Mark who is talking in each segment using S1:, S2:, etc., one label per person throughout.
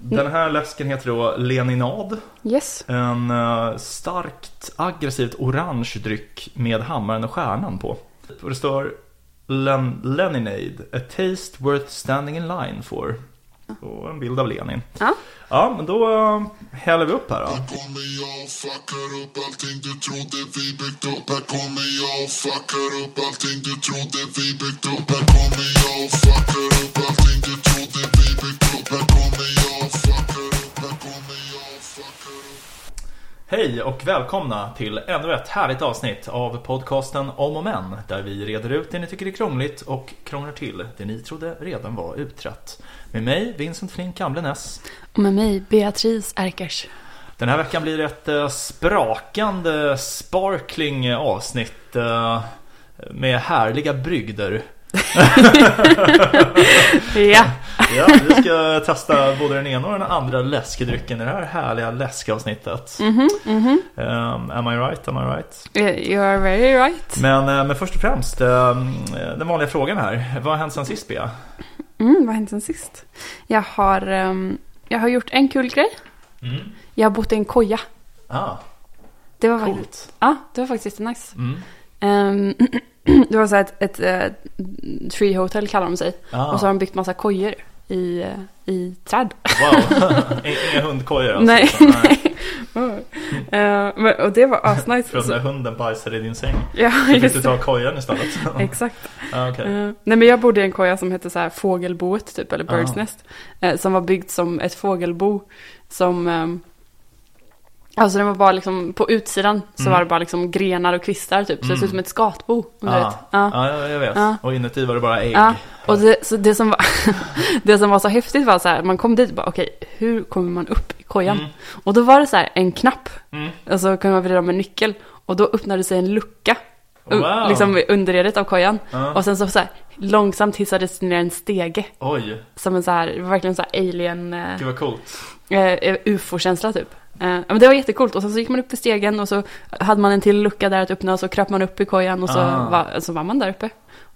S1: Den här läsken heter då Leninad.
S2: Yes.
S1: En eh, starkt aggressivt orange dryck med hammaren och stjärnan på. Och det står Len- Leninade, a taste worth standing in line for. Och en bild av Lenin.
S2: Ja.
S1: Ja, men då eh, häller vi upp här då.
S3: Här kommer jag och fuckar upp allting du trodde vi byggt upp. Här kommer jag och fuckar upp allting du trodde vi byggt upp. Här kommer jag och fuckar upp allting du trodde vi byggt upp. Här kommer jag och fuckar upp. Här kommer jag och fuckar upp.
S1: Hej och välkomna till ännu ett härligt avsnitt av podcasten Om och Men där vi reder ut det ni tycker är krångligt och krånglar till det ni trodde redan var utrett. Med mig, Vincent Flink Kamlenäs.
S2: Och med mig, Beatrice Erkers.
S1: Den här veckan blir det ett eh, sprakande, sparkling eh, avsnitt eh, med härliga brygder.
S2: Ja.
S1: Ja, vi ska testa både den ena och den andra läskedrycken i det här härliga läskavsnittet.
S2: Mm-hmm.
S1: Eh, am I right? Am I right?
S2: Eh, You are very right.
S1: Men, eh, men först och främst, eh, den vanliga frågan här. Vad har hänt sen sist Bea?
S2: Mm, vad har hänt sen sist? Jag har, ehm, jag har gjort en kul grej.
S1: Mm.
S2: Jag har bott i en koja.
S1: Ah,
S2: Det var faktiskt,
S1: coolt.
S2: ja, det var faktiskt nice.
S1: Mm.
S2: Ehm, det var så här ett, ett eh, tree hotel kallar de sig.
S1: Ah,
S2: Och så har de byggt massa kojor i, eh, i träd.
S1: Wow, I- inga hundkojor alltså.
S2: Nej,
S1: utan, eh,
S2: Eh, men, och det var asnice.
S1: För att
S2: Så-
S1: när hunden bajsade i din säng.
S2: Ja,
S1: Fick du
S2: just det.
S1: ta kojan istället?
S2: Exakt.
S1: ah, okej.
S2: Eh, nej men jag bodde i en koja som hette så här fågelboet typ, eller Birds
S1: Ah.
S2: Nest. eh, som var byggt som ett fågelbo. Som, ehm, alltså den var bara liksom, på utsidan så
S1: Mm.
S2: var det bara liksom grenar och kvistar typ. Så det såg ut som ett skatbo. Om du
S1: Ah.
S2: vet. Ja.
S1: Ja, jag- jag vet.
S2: Ja.
S1: Och inuti var det bara ägg.
S2: Ja, och det, så det, som var, det som var så häftigt var så här, man kom dit och bara okej, hur kommer man upp i kojan?
S1: Mm.
S2: Och då var det så här en knapp,
S1: Mm.
S2: och så kunde man vrida om en nyckel, och då öppnade sig en lucka, u-
S1: Wow.
S2: liksom i underredet av kojan.
S1: Ja.
S2: Och sen så, så här, långsamt hissades det ner en stege,
S1: Oj,
S2: som en så här, det var verkligen så här alien, eh,
S1: gud vad coolt.
S2: eh, ufo-känsla typ. Eh, ja, men det var jättecoolt och sen så gick man upp i stegen och så hade man en till lucka där att öppna och så kröp man upp i kojan och så,
S1: Ah.
S2: var, så var man där uppe.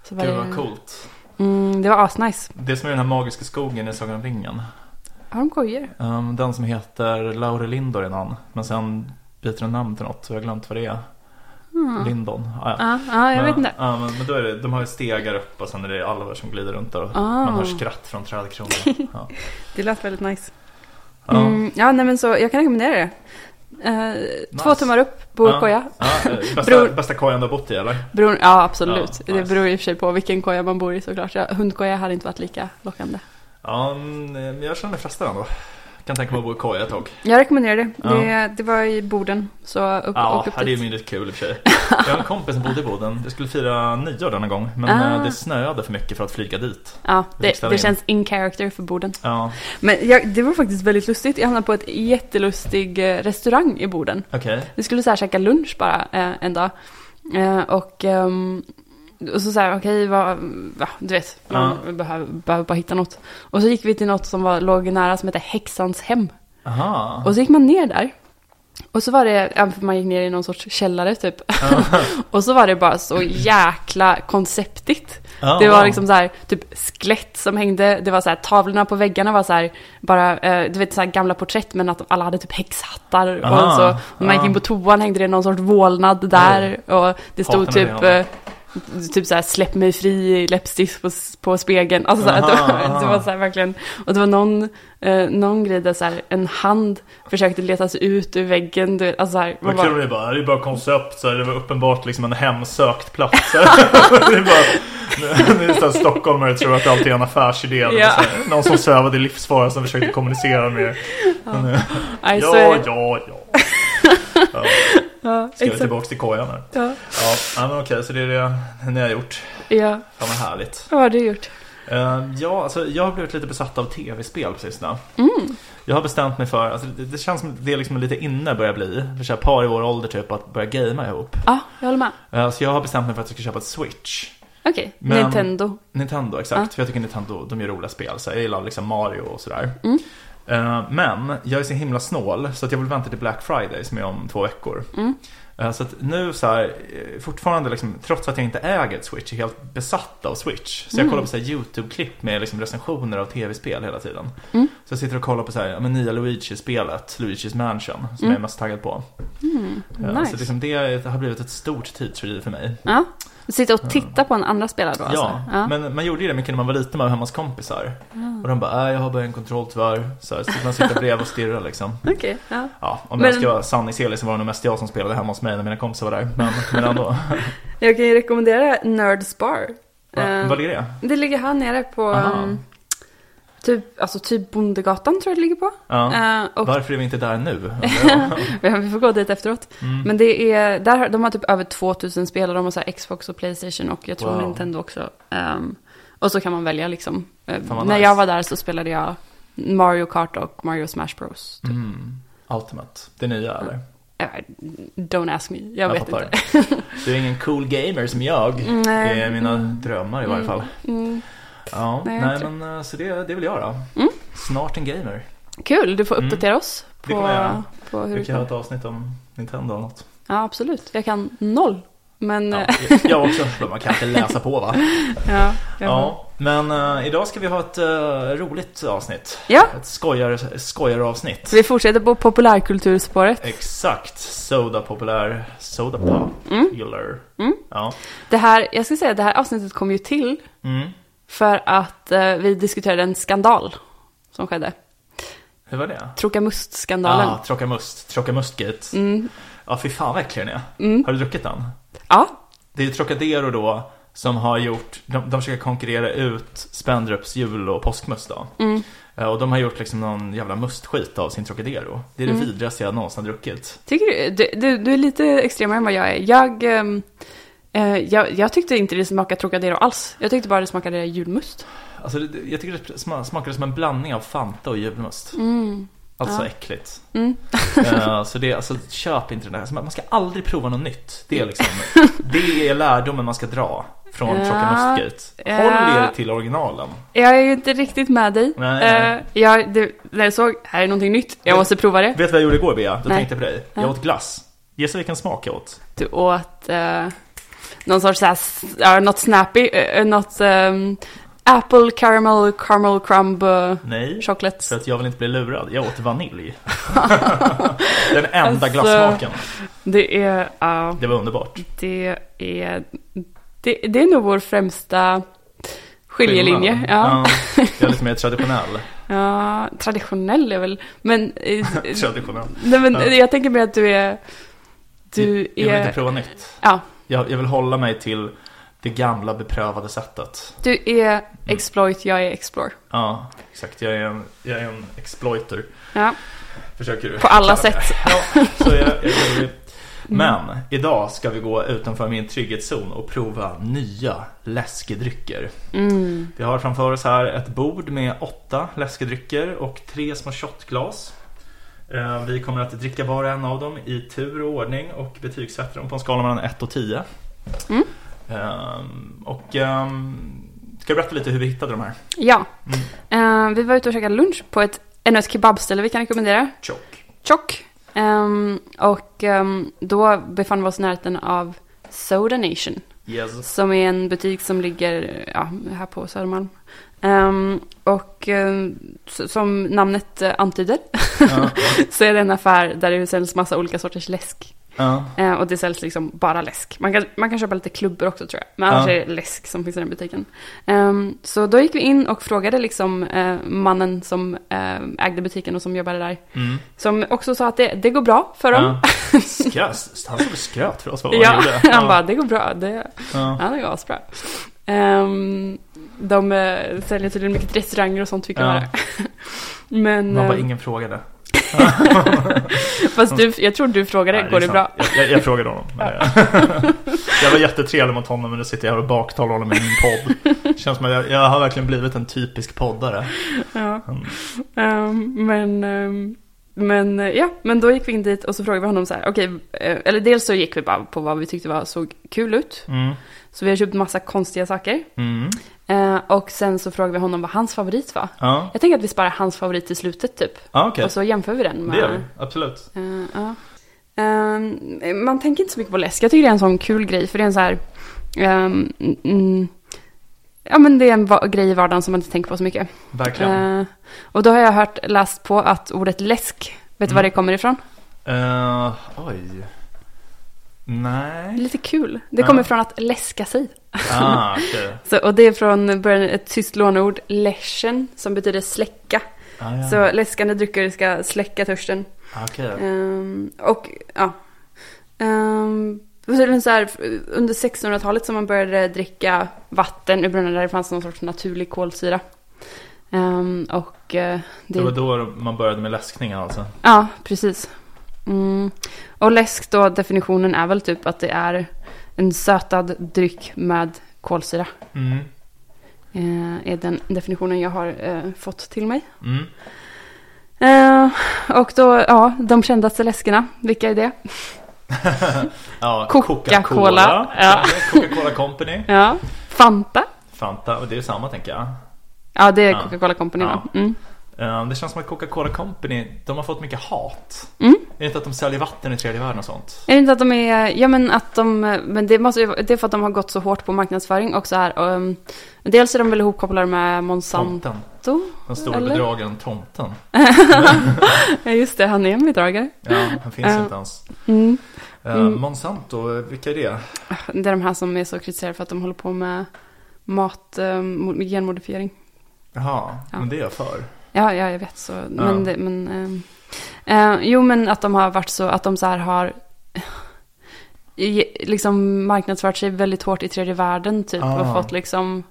S2: Så var
S1: Gud
S2: det-
S1: vad coolt.
S2: Mm, det var asnice.
S1: Det som är den här magiska skogen i Sagan om ringen.
S2: Har de kojor?
S1: Ehm, den som heter Laure Lindor är någon. Men sen byter den namn till något så jag har glömt vad det är. Lindon. Ah, ja.
S2: Ja, ja, Mm. jag
S1: men,
S2: vet inte.
S1: Ja, men, men då är det, de har ju stegar upp och sen är det alvar som glider runt där och
S2: Ah.
S1: man hör skratt från trädkronorna. Ja.
S2: Det lät väldigt nice.
S1: Ja.
S2: Mm, ja, nej men så jag kan rekommendera det. Eh, Två tummar upp, bor
S1: Ja.
S2: koja.
S1: Ja, eh, bästa,
S2: Bror.
S1: bästa kojan du har bott i eller?
S2: Beror, ja, absolut.
S1: Ja,
S2: Det
S1: nice.
S2: beror i och för sig på vilken koja man bor i såklart. Ja, hundkoja hade inte varit lika lockande.
S1: Ja, mm, men jag känner mig frestad ändå. Kan tänka mig att bo i koja ett tag.
S2: Jag rekommenderar det.
S1: Ja.
S2: Det, det var i Boden, så upp,
S1: Ja,
S2: och upp
S1: det är ju
S2: dit.
S1: mindre kul i och för sig. Jag har en kompis som bodde i Boden. Jag skulle fira nyår denna gång. Men
S2: Ah.
S1: eh, det snöade för mycket för att flyga dit.
S2: Ja,
S1: Vi fick
S2: det,
S1: ställa
S2: det
S1: in.
S2: känns in character för Boden.
S1: Ja,
S2: Men jag, det var faktiskt väldigt lustigt. Jag hamnade på ett jättelustig eh, restaurang i Boden.
S1: okej.
S2: Vi skulle så här käka lunch bara eh, en dag. Eh, och, ehm, och så så här, okej, vad, va, du vet, man behöver, behöver bara hitta något. Och så gick vi till något som var, låg nära som hette Häxans hem.
S1: Aha.
S2: Och så gick man ner där. Och så var det, ja, för man gick ner i någon sorts källare typ. och så var det bara så jäkla konceptigt.
S1: Ja,
S2: Det var
S1: wow.
S2: liksom så här, typ skelett som hängde, det var så här, tavlorna på väggarna var så här, bara, eh, du vet så här gamla porträtt men att alla hade typ häxhattar.
S1: Ah,
S2: och så, när man gick in
S1: ah.
S2: på toan hängde det någon sorts vålnad där. Och det stod
S1: Hatar när
S2: typ,
S1: det händer.
S2: eh, typ så här, släpp mig fri i läppstift på, på spegeln. Alltså så här, det,
S1: Aha,
S2: var, det var
S1: aha.
S2: så här verkligen, och det var någon, eh, någon grej där så här, en hand försökte leta sig ut ur väggen. Du vet, alltså så här, man
S1: Vad
S2: bara,
S1: kul det är bara, det är bara koncept så här, det var uppenbart liksom en hemsökt plats. så här. det är bara, det är så här, stockholmare tror att allt är en affärsidé. Det var
S2: Ja.
S1: så här, någon som svävade i livsfara som försökte kommunicera med
S2: nej, så är
S1: Ja,
S2: det.
S1: ja, ja. ja.
S2: ja,
S1: Ska vi
S2: exakt.
S1: tillbaka till kojan här.
S2: Ja,
S1: Ja, ja, men okej, så det är det ni har gjort.
S2: ja,
S1: Fan vad härligt.
S2: vad har du gjort?
S1: Eh, ja, alltså, jag har blivit lite besatt av tv-spel på sistone. Jag har bestämt mig för, alltså, det, det känns som det är liksom lite inne börjar bli, för så här, par i vår ålder typ, att börja gamea ihop.
S2: Ja, jag håller med.
S1: Eh, Så jag har bestämt mig för att jag ska köpa ett Switch.
S2: Okej,
S1: Men-
S2: Nintendo.
S1: Nintendo, exakt. För jag tycker Nintendo, de gör roliga spel. Så jag gillar liksom Mario och sådär. Eh, Men jag är så himla snål så att jag vill vänta till Black Friday som är om två veckor. Eh, Så att nu så här, eh, fortfarande liksom, trots att jag inte äger ett Switch, är jag helt besatt av Switch. Så jag kollar på så här YouTube-klipp med liksom recensioner av tv-spel hela tiden. Så Så jag sitter och kollar på så här, ja, men nya Luigi-spelet, Luigi's Mansion, som jag är mest taggad på. Eh, Så
S2: Mm, nice.
S1: liksom det har blivit ett stort tidsfördriv för mig.
S2: Ja. Sitta och titta på en andra spelare då alltså?
S1: Ja, men man gjorde ju det mycket när man var liten med hemma hos kompisar. Och de bara, äh, jag har bara en kontroll tyvärr. Så, här, så fick man sitta bredvid och stirra liksom.
S2: Ah, Okej, ja.
S1: Ja, om
S2: Men-
S1: jag ska vara sanningsenlig så var det nog mest jag som spelade hemma hos mig när mina kompisar var där. Men, men ändå.
S2: Jag kan ju rekommendera Nerds Bar.
S1: Va,
S2: Eh,
S1: vad är det?
S2: det ligger här nere på
S1: Aha.
S2: ehm, typ, alltså typ Bondegatan tror jag det ligger på.
S1: Ja.
S2: Eh, och
S1: Varför är vi inte där nu? Mm. undrar jag.
S2: Ja, vi får gå dit efteråt.
S1: Mm.
S2: Men det är, där, har- de har typ över 2000 spelare. De har så här Xbox och Playstation och jag tror
S1: Wow.
S2: Nintendo också. Ehm, och så kan man välja liksom. Eh,
S1: Fan, vad
S2: när
S1: nice.
S2: jag var där så spelade jag Mario Kart och Mario Smash Bros. Typ.
S1: Mm. Ultimate, det nya eller?
S2: Eh, Don't ask me, jag, vet
S1: fattar.
S2: inte.
S1: Du är ingen cool gamer som jag.
S2: Nej.
S1: Det är mina drömmar i varje fall.
S2: Mm.
S1: Ja,
S2: Nej,
S1: nej,
S2: jag Mm. tror-
S1: men eh, så det, det vill jag då. Snart en gamer.
S2: Kul, du får uppdatera oss
S1: Mm. Det kommer
S2: på,
S1: jag göra.
S2: på hur
S1: Vi
S2: det
S1: kan ha
S2: går.
S1: ett avsnitt om Nintendo eller något.
S2: Ja, absolut. Jag kan noll. Men,
S1: Ja,
S2: ja,
S1: jag också, men man kan inte läsa på va?
S2: ja, jag-
S1: Ja, men eh, idag ska vi ha ett eh, roligt avsnitt.
S2: Ja.
S1: Ett skojar, skojaravsnitt.
S2: Så vi fortsätter på populärkulturspåret.
S1: Exakt, Soda Populär, Soda Pop,
S2: Mm.
S1: Gillar. Ja.
S2: Det här, jag ska säga, det här avsnittet kom ju till
S1: Mm.
S2: För att eh, vi diskuterade en skandal som skedde.
S1: Hur var det?
S2: Trokamust-skandalen.
S1: Ah, Tråkamust, Tråkamustgate.
S2: Mm.
S1: Ja, fy fan vad äcklig den är. Har du druckit den?
S2: Ja,
S1: Det är ju Trocadero då som har gjort, de, de försöker konkurrera ut Spendrups jul och påskmust då.
S2: Mm.
S1: Eh, Och de har gjort liksom någon jävla mustskit av sin Trocadero. Det är
S2: Mm.
S1: det vidrigaste jag någonsin har druckit.
S2: tycker du, du, du, du är lite extremare än vad jag är. Jag, ehm, eh, jag, jag tyckte inte det smakade Trocadero alls. Jag tyckte bara det smakade julmust.
S1: Alltså det- det, jag tycker det sma- smakade som en blandning av Fanta och julmust. Alltså
S2: Mm. ja.
S1: äckligt.
S2: Mm.
S1: Eh, så det, alltså köp inte den där. Alltså, man man ska aldrig prova något nytt. Det är liksom, det är lärdomen man ska dra från
S2: Mm. Ja.
S1: Trocamustgate. Håll
S2: Ja.
S1: er till originalen.
S2: Jag är ju inte riktigt med dig.
S1: Nej,
S2: Eh,
S1: nej.
S2: jag, det, när jag såg, här är någonting nytt, jag
S1: Men-
S2: måste prova det.
S1: Vet du vad jag gjorde igår Bea? Då
S2: Nej.
S1: tänkte jag på dig.
S2: Ja.
S1: Jag åt glass. Gissa vilken smak jag åt?
S2: Du åt eh, någon sorts såhär, s- ja, något snappy, eh, något ehm, apple caramel caramel crumb eh,
S1: Nej.
S2: chocolate.
S1: För att jag vill inte bli lurad. Jag åt vanilj. Den enda
S2: Alltså-
S1: glassmaken.
S2: Det är, ja,
S1: Det var underbart.
S2: det är, det, det är nog vår främsta skiljelinje.
S1: Skillnaden.
S2: Ja.
S1: Ja, Jag är lite mer traditionell.
S2: ja, traditionell är väl, men, eh,
S1: traditionell.
S2: nej, men
S1: Ja.
S2: jag tänker mer att du är, du
S1: jag vill inte
S2: är,
S1: prova nytt.
S2: ja,
S1: Jag, jag vill hålla mig till det gamla beprövade sättet.
S2: du är exploit, jag är explore.
S1: Ja, exakt. Jag är en, jag är en exploiter.
S2: Ja,
S1: Försöker du
S2: på alla
S1: kalla mig.
S2: sätt.
S1: Ja, så jag, jag, jag,
S2: Mm.
S1: men idag ska vi gå utanför min trygghetszon och prova nya läskedrycker.
S2: Mm.
S1: Vi har framför oss här ett bord med åtta läskedrycker och tre små shotglas. Eh, Vi kommer att dricka var och en av dem i tur och ordning och betygsätta dem på en skala mellan 1 och 10.
S2: Mm.
S1: Ehm, Och ehm, ska jag berätta lite hur vi hittade de här?
S2: Ja, Eh, vi var ute och käkade lunch på ett, ännu ett kebabställe vi kan rekommendera.
S1: Tjock.
S2: Tjock. Ehm, och ehm, då befann vi oss i närheten av Soda Nation.
S1: Yes.
S2: Som är en butik som ligger ja, här på Södermalm. Ehm, och ehm, s- som namnet eh, antyder
S1: Ja,
S2: så är det en affär där det säljs massa olika sorters läsk.
S1: ja.
S2: Eh, och det säljs liksom bara läsk. Man kan, man kan köpa lite klubbor också tror jag. Men annars
S1: Ja.
S2: är det läsk som finns i den butiken. Ehm, så då gick vi in och frågade liksom eh, mannen som eh, ägde butiken och som jobbade där.
S1: Mm.
S2: Som också sa att det, det går bra för dem.
S1: Ja. Skrös. Han som skröt för oss vad
S2: Ja,
S1: han gjorde.
S2: han bara, det går bra. Det,
S1: ja.
S2: Ja, det går asbra. Ehm, de eh, säljer tydligen mycket till restauranger och sånt fick jag
S1: Ja.
S2: höra. Men
S1: Man bara,
S2: eh,
S1: ingen frågade.
S2: fast du, jag tror du frågade,
S1: Nej,
S2: går det,
S1: är
S2: bra?
S1: sant. Jag, jag, jag frågade honom. men- jag var jättetrevlig mot honom men nu sitter jag här och baktalar honom i min podd. Känns som att jag, jag har verkligen blivit en typisk poddare.
S2: Ja. Ehm, men, ehm, men eh, ja, men då gick vi in dit och så frågade vi honom så här, okej, eh, eller dels så gick vi bara på vad vi tyckte var, såg kul ut.
S1: Mm.
S2: Så vi har köpt massa konstiga saker.
S1: Mm.
S2: Eh, och sen så frågade vi honom vad hans favorit var.
S1: Ja,
S2: Jag tänker att vi sparar hans favorit till slutet typ.
S1: ja okej.
S2: Och så jämför vi den med...
S1: Det gör vi, absolut.
S2: Eh, ja. Eh, man tänker inte så mycket på läsk. Jag tycker det är en sån kul grej. För det är en så här... ehm, mm, ehm, ja, men det är en va- grej i vardagen som man inte tänker på så mycket.
S1: Verkligen.
S2: Eh, och då har jag hört, läst på att ordet läsk, vet
S1: Mm.
S2: du var det kommer ifrån?
S1: Eh, oj.
S2: Det är
S1: Nej.
S2: lite kul. Det
S1: Ja.
S2: kommer från att läska sig.
S1: Ah, okej.
S2: Så, och det är från början ett tyskt låneord, läschen, som betyder släcka.
S1: Ah, ja.
S2: Så läskande drycker ska släcka törsten.
S1: Ah, okej.
S2: Ehm, och ja. Um, så är det så här, under 1600-talet som man började dricka vatten ur brunnar där det fanns någon sorts naturlig kolsyra. Ehm, och eh, det,
S1: Det var då man började med läskningen alltså.
S2: Ja, precis. Mm. Och läsk då, definitionen är väl typ att det är en sötad dryck med kolsyra.
S1: Mm.
S2: Eh, är den definitionen jag har eh, fått till mig.
S1: Mm.
S2: Eh, och då, ja, de kändaste läskerna, vilka är det?
S1: Ja,
S2: Coca-Cola.
S1: Ja.
S2: Ja.
S1: Coca-Cola Company.
S2: Ja, Fanta.
S1: Fanta, och det är ju samma tänker jag.
S2: Ja, det är
S1: Ja.
S2: Coca-Cola Company
S1: Ja.
S2: då. Mm.
S1: Eh, Det känns som att Coca-Cola Company, de har fått mycket hat.
S2: Mm.
S1: Är det inte att de säljer vatten i tredje världen och sånt?
S2: Är det inte att de är, ja men att de, men det, måste, ju vara- det är för att de har gått så hårt på marknadsföring och så här. Um, dels är de väl ihopkopplade med Monsanto.
S1: Tomten. Den stora
S2: Eller?
S1: bedragaren Tomten.
S2: Ja just det, han är en bedragare.
S1: Ja, han finns
S2: Ja.
S1: inte ens.
S2: Mm.
S1: Eh, Monsanto, eh, vilka är det?
S2: Det är de här som är så kritiserade för att de håller på med mat, um, genmodifiering.
S1: Jaha,
S2: Ja.
S1: men det är jag för.
S2: Ja, ja jag vet så. Men, det, men ehm, eh, jo men att de har varit så, att de så här har i, liksom marknadsfört sig väldigt hårt i tredje världen typ och
S1: Ah.
S2: fått liksom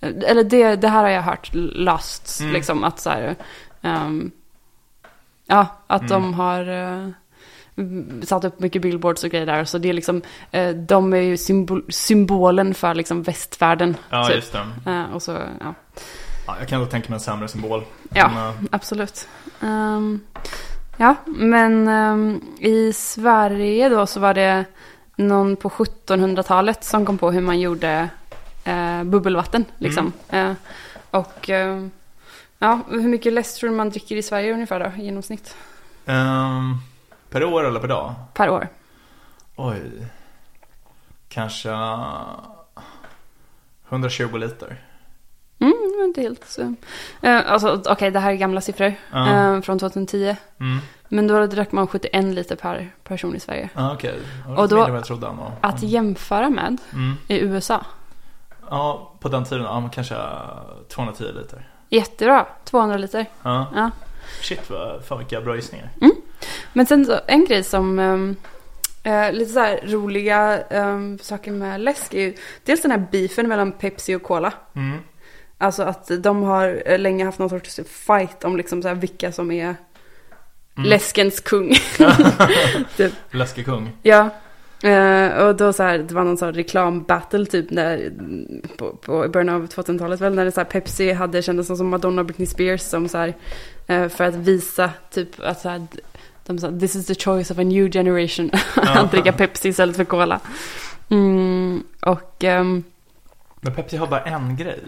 S2: eller det, det här har jag hört last
S1: Mm.
S2: liksom att så här ehm, ja att
S1: Mm.
S2: de har eh, satt upp mycket billboards och grejer där så det är liksom eh, de är ju symbol, symbolen för liksom västvärlden
S1: Ja,
S2: typ.
S1: just det.
S2: Eh, och så ja
S1: Ja, jag kan nog tänka mig en sämre symbol.
S2: Ja.
S1: Men, eh,
S2: Absolut. Ehm, ja, men ehm, i Sverige då så var det någon på 1700-talet som kom på hur man gjorde eh, bubbelvatten. Liksom. Eh, och ehm, ja, hur mycket läsk tror du man dricker i Sverige ungefär då, i genomsnitt?
S1: ehm, per år eller per dag?
S2: Per år?
S1: Oj. Kanske 120 liter.
S2: Mm, men det är helt... så. Eh, alltså, Okej, det här är gamla siffror
S1: Ja.
S2: eh, från 2010.
S1: Mm.
S2: Men då drack man 71 liter per person i Sverige.
S1: Ja, okej. Okay.
S2: Och
S1: Och
S2: då-
S1: då... Mindre än vad jag trodde. ändå.
S2: Att jämföra med
S1: Mm.
S2: i USA.
S1: Ja, på den tiden, ja men kanske 210 liter.
S2: Jättebra, 200 liter.
S1: Ja.
S2: Ja.
S1: Shit, vad, fan vilka bra gissningar.
S2: Men sen så, en grej som ehm, eh, lite så här roliga ehm, saker med läsk är ju dels den här beefen mellan Pepsi och Cola.
S1: Mm.
S2: Alltså att de har eh, länge haft någon sorts fight om liksom så här vilka som är läskens kung.
S1: Läskig kung.
S2: ja. Eh, och då så här, det var någon sån här reklambattle typ när, mm, på, på i början av 2000-talet väl, när det så här Pepsi hade, kändes som Madonna och Britney Spears som så här, eh, för att visa typ att så här, de sa this is the choice of a new generation. Att dricka Pepsi istället för Cola. Mm, och ehm,
S1: Men Pepsi har bara en grej.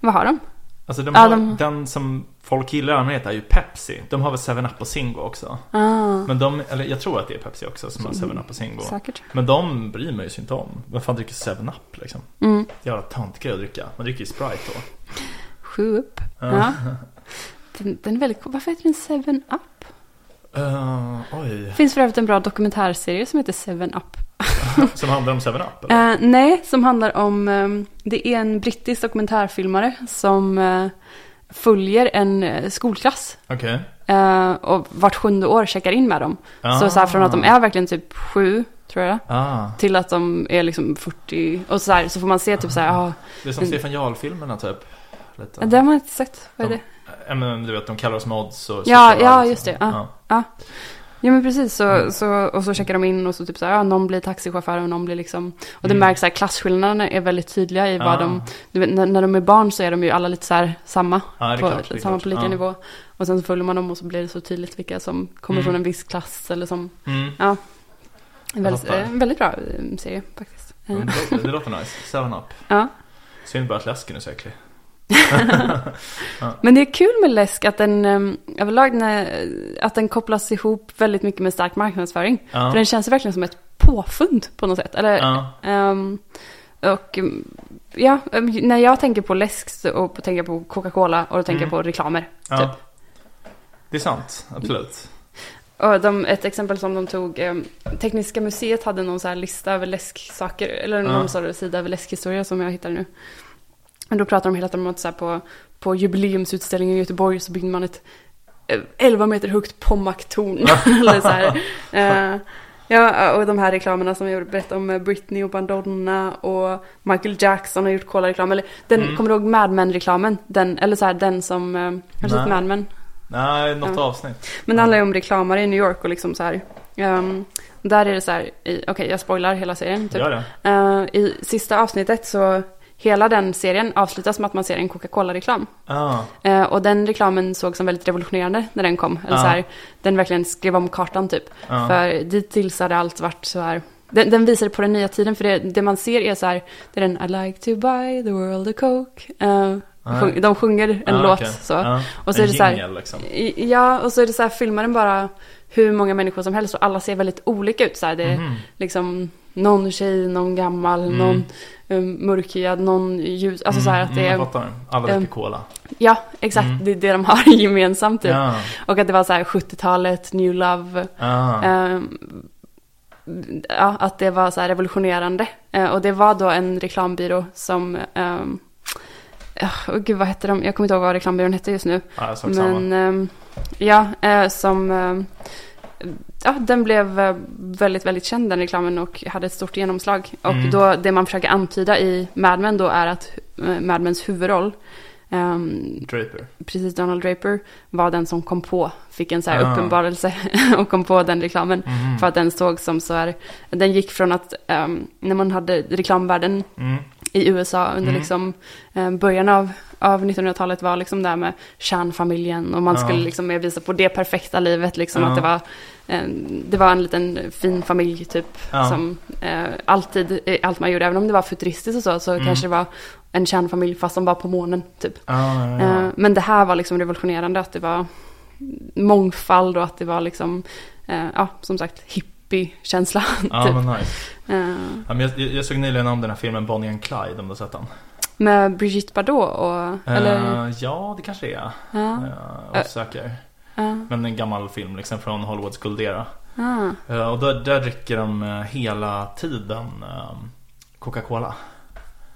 S2: vad har de?
S1: Alltså de
S2: Ja,
S1: har,
S2: de-
S1: den som folk gillar i allmänhet är ju Pepsi. De har väl 7-Up och Zingo också.
S2: Ah,
S1: Men de, eller jag tror att det är Pepsi också som har 7-Up och Zingo.
S2: säkert.
S1: Men de bryr mig ju inte om. Vem fan dricker 7-Up liksom?
S2: Mm,
S1: Jävla tantgrej att dricka. Man dricker ju Sprite då.
S2: sju upp.
S1: Ja.
S2: Ja. Den, den är väldigt cool. Varför heter den Seven Up?
S1: Eh, oj.
S2: Det finns för övrigt en bra dokumentärserie som heter Seven Up.
S1: Som handlar om 7-Up eller?
S2: Eh, nej, som handlar om, ehm, det är en brittisk dokumentärfilmare som eh, följer en eh, skolklass.
S1: Okej.
S2: eh, och vart sjunde år checkar in med dem. Så, så här, från att de är verkligen typ sju, tror jag,
S1: Ah,
S2: till att de är liksom 40. Och så, här, så får man se typ så här, ja,
S1: det är som Stefan Jarl-filmerna typ. Lite.
S2: det har man inte sett. Vad är
S1: De-
S2: det?
S1: Ja, men du vet, de kallar oss mods och
S2: Ja,
S1: och-
S2: ja, just det. Ja.
S1: Ja.
S2: Ja men precis,
S1: Mm.
S2: så, så, och så checkar de in och så typ så här, ja, någon blir taxichaufför och någon blir liksom, och det märks så här klasskillnaderna är väldigt tydliga i vad
S1: Mm. Ah.
S2: de, du vet, när, när de är barn så är de ju alla lite så här samma,
S1: Ja, det är
S2: på,
S1: klart, det är
S2: samma
S1: klart.
S2: på lika
S1: Ja.
S2: nivå. Och sen så följer man dem och så blir det så tydligt vilka som kommer
S1: Mm.
S2: från en viss klass eller som,
S1: Mm.
S2: ja. En väldigt,
S1: fattar.
S2: eh, en väldigt bra eh, serie faktiskt. Eh,
S1: Mm, det låter- Det låter nice. 7-Up.
S2: Ja.
S1: Synd bara att läsken är så äcklig.
S2: Men det är kul med läsk att den eh, överlag när, att den kopplas ihop väldigt mycket med stark marknadsföring.
S1: Ja.
S2: För den känns ju verkligen som ett påfund på något sätt. Eller
S1: Ja.
S2: Ehm, Och mm, ja, mm, när jag tänker på läsk så- och på- tänker jag på Coca-Cola och då tänker jag
S1: Mm.
S2: på reklamer.
S1: Ja.
S2: Typ.
S1: Det är sant, absolut.
S2: Och de, ett exempel som de tog, eh, Tekniska museet hade någon så här lista över läsksaker, eller
S1: Ja.
S2: någon sorts sida över läskhistoria som jag hittar nu. Och då pratar de hela tiden om att så här, på, på jubileumsutställningen i Göteborg så byggde man ett eh, 11 meter högt Pommac-torn. eller så här. Eh, ja, och de här reklamerna som jag berättade om, eh, Britney och Madonna och Michael Jackson har gjort Cola-reklam. Eller den,
S1: Mm.
S2: kommer du ihåg Mad Men-reklamen? Den, eller så här, den som, eh, har du
S1: Nej.
S2: sett Mad Men?
S1: Nej, något
S2: Ja.
S1: avsnitt.
S2: Men det handlar ju om reklamare i New York och liksom så här. ehm, där är det så här, i- okej jag spoilar hela serien. Typ.
S1: Gör det.
S2: Eh, I sista avsnittet så, hela den serien avslutas med att man ser en Coca-Cola-reklam.
S1: Ja,
S2: Eh, och den reklamen såg som väldigt revolutionerande när den kom. Eller
S1: Ja.
S2: så här, den verkligen skrev om kartan typ.
S1: Ja.
S2: För dittills hade allt varit så här. Den, den visade på den nya tiden, för det, det man ser är så här, det är den I like to buy the world a Coke. Eh,
S1: Ja.
S2: sjung, de sjunger en
S1: Ja,
S2: låt
S1: okej.
S2: så.
S1: Ja.
S2: Och så
S1: en
S2: är det så här-
S1: jingle, liksom.
S2: I- Ja, och så är det så här, filmar den bara hur många människor som helst och alla ser väldigt olika ut. Så här, det är
S1: Mhm.
S2: liksom någon tjej, någon gammal, någon um, mörkhyad, någon ljus. Alltså så här att det
S1: Mm. Mm, jag
S2: är,
S1: fattar. Alla
S2: ehm,
S1: dricker cola.
S2: ja exakt, det är det de har gemensamt typ.
S1: Ja,
S2: Och att det var så här 70-talet, new love.
S1: ja.
S2: ehm, ja, att det var så här revolutionerande. Eh, och det var då en reklambyrå som, um, gud vad hette de, jag kommer inte ihåg vad reklambyrån hette just nu.
S1: ja jag sak samma.
S2: Men ehm, ja, eh, som... ehm, ja, den blev eh, väldigt, väldigt känd den reklamen och hade ett stort genomslag. Och
S1: Mm.
S2: då, det man försöker antyda i Mad Men då är att eh, Mad Mens huvudroll ehm,
S1: Draper.
S2: precis Donald Draper var den som kom på, fick en så här
S1: Ah.
S2: uppenbarelse och kom på den reklamen.
S1: Mhm.
S2: För att den såg som så här, den gick från att ehm, när man hade reklamvärlden
S1: Mm.
S2: i USA under
S1: Mm.
S2: liksom, eh, början av, av 1900-talet var liksom det här med kärnfamiljen och man
S1: Ja.
S2: skulle liksom mer visa på det perfekta livet. Liksom,
S1: Ja.
S2: att det, var, eh, det var en liten fin familj typ
S1: Ja.
S2: som eh, alltid, eh, allt man gjorde, även om det var futuristiskt och så, så
S1: Mm.
S2: kanske det var en kärnfamilj fast de var på månen typ.
S1: Ja, ja,
S2: Eh,
S1: ja.
S2: men det här var liksom revolutionerande att det var mångfald och att det var liksom, eh, ja som sagt hippie-känsla.
S1: Ja,
S2: typ.
S1: men nice.
S2: Eh,
S1: Ja, men jag, jag jag såg nyligen om den här filmen Bonnie and Clyde, om du har sett den.
S2: med Brigitte Bardot och, eller? Eh.
S1: Eh, ja, det kanske det är.
S2: Ja.
S1: Uh, osäker.
S2: Ja.
S1: Men en gammal film liksom från Hollywoods guldera.
S2: Ah,
S1: Eh, och där, där dricker de eh, hela tiden eh, Coca-Cola.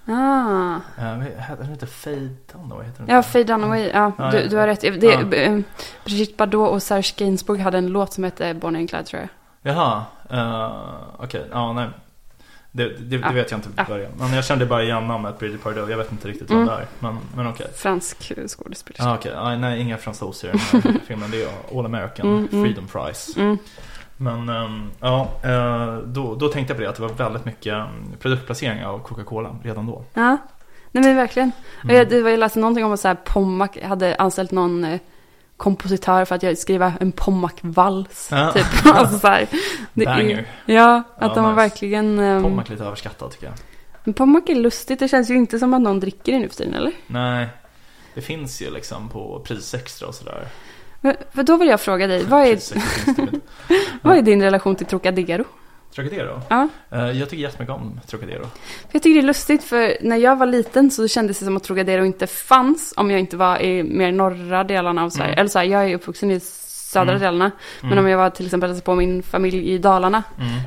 S2: ah.
S1: Uh, heter den inte Fejdan då? Heter den
S2: Ja,
S1: inte?
S2: Faye Dunaway. Ja,
S1: Ja,
S2: du,
S1: ja.
S2: du har rätt. Det,
S1: Ja.
S2: eh, Brigitte Bardot och Serge Gainsbourg hade en låt som hette Bonnie and Clyde tror jag.
S1: Jaha, eh, okej. Ja, nej. Det, det,
S2: Ja.
S1: det vet jag inte
S2: Ja.
S1: från början. Men jag kände bara igen namnet Bridget Pardot. Jag vet inte riktigt vem
S2: Ah. Mm.
S1: det är. Men, men okej.
S2: Fransk eh, skådespelerska.
S1: Ah, okej. Ah, nej, inga fransoser i den här filmen. Det är All American
S2: Mm, mm.
S1: Freedom Prize.
S2: Mm.
S1: Men ehm, ja, eh, då, då tänkte jag på det att det var väldigt mycket mm, produktplacering av Coca-Cola redan då.
S2: Ja. Nej men verkligen.
S1: Mm.
S2: Och jag, det var, jag läste någonting om att så här, Pommac hade anställt någon eh, kompositör för att jag skriva en Pommac-vals.
S1: Ja.
S2: Typ. alltså, så här, det är- mm.
S1: Banger.
S2: ja, att
S1: Ja,
S2: de har
S1: nice.
S2: verkligen... ehm,
S1: Pommac lite överskattad tycker jag.
S2: men Pommac är lustigt, det känns ju inte som att någon dricker det nu för tiden eller?
S1: Nej, det finns ju liksom på prisextra och sådär.
S2: Men, för då vill jag fråga dig, Eh, vad är,
S1: Prisextra finns det ju.
S2: vad är din relation till Trocadero?
S1: Trocadero?
S2: Ja.
S1: Eh, jag tycker jättemycket om Trocadero.
S2: För Jag tycker det är lustigt för när jag var liten så kändes det som att Trocadero inte fanns om jag inte var i mer norra delarna av Sverige.
S1: Mm.
S2: Eller så här, jag är uppvuxen i södra
S1: Mm.
S2: delarna. Men
S1: Mm.
S2: om jag var till exempel hälsade på min familj i Dalarna.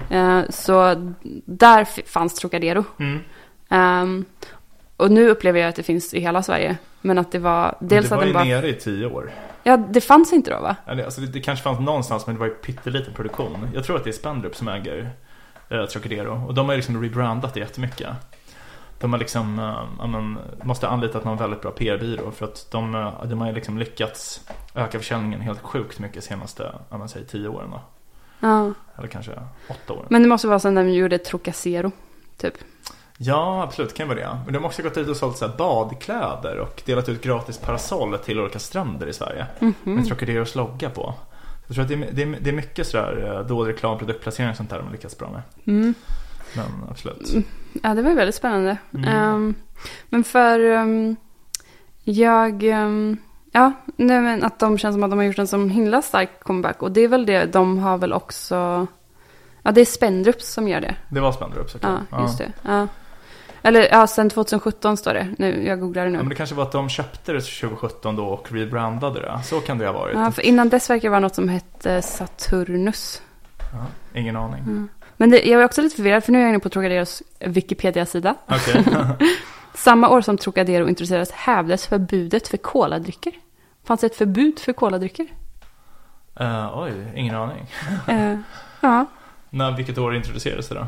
S1: Mm.
S2: Eh, så där f- fanns Trocadero.
S1: Mm.
S2: Ehm, och nu upplever jag att det finns i hela Sverige. Men att det var, dels
S1: det var
S2: att
S1: ju
S2: den bara,
S1: nere i tio år.
S2: ja det fanns inte då va?
S1: Eller, Alltså, det, det kanske fanns någonstans men det var ju pytteliten produktion. Jag tror att det är Spendrup som äger eh, Trocadero. Och de har ju liksom rebrandat det jättemycket. De har liksom, eh, ja, men, måste ha anlitat någon väldigt bra PR-byrå för att de, eh, de har ju liksom lyckats öka försäljningen helt sjukt mycket senaste, ja, men, säg tio åren då.
S2: Ja.
S1: Eller kanske åtta åren.
S2: Men det måste vara sen när de gjorde Trocacero. Typ.
S1: Ja, absolut, det kan ju vara det. Men de har också gått ut och sålt så här badkläder och delat ut gratis parasoll till olika stränder i Sverige.
S2: Mm.
S1: Med Trocaderos logga på. Jag tror att det är, det är, det är mycket sådär eh, dålig reklam, produktplacering och sånt där de har lyckats bra med.
S2: Mm.
S1: Men absolut.
S2: Ja, det var ju väldigt spännande.
S1: Mm.
S2: Ehm, men för ehm, jag, ehm, ja, nej, men att de känns som att de har gjort en sån himla stark comeback. Och det är väl det, de har väl också, ja det är Spendrups som gör det.
S1: Det var Spendrup såklart.
S2: Ja, just det. Ja. Eller ja, sen 2017 står det. Nu, jag googlar det
S1: Ja, men
S2: nu.
S1: det kanske var att de köpte det 2017 då och rebrandade det. Så kan det ha varit.
S2: Ja, för innan dess verkar det vara något som hette Saturnus.
S1: Ja, ingen aning.
S2: Mm. Men det, jag är också lite förvirrad för nu är jag inne på Trocaderos Wikipedia-sida.
S1: Okej.
S2: Samma år som Trocadero introducerades hävdes förbudet för koladrycker. Fanns det ett förbud för koladrycker?
S1: Eh, oj, ingen aning.
S2: Eh, ja.
S1: När, vilket år introducerades det då?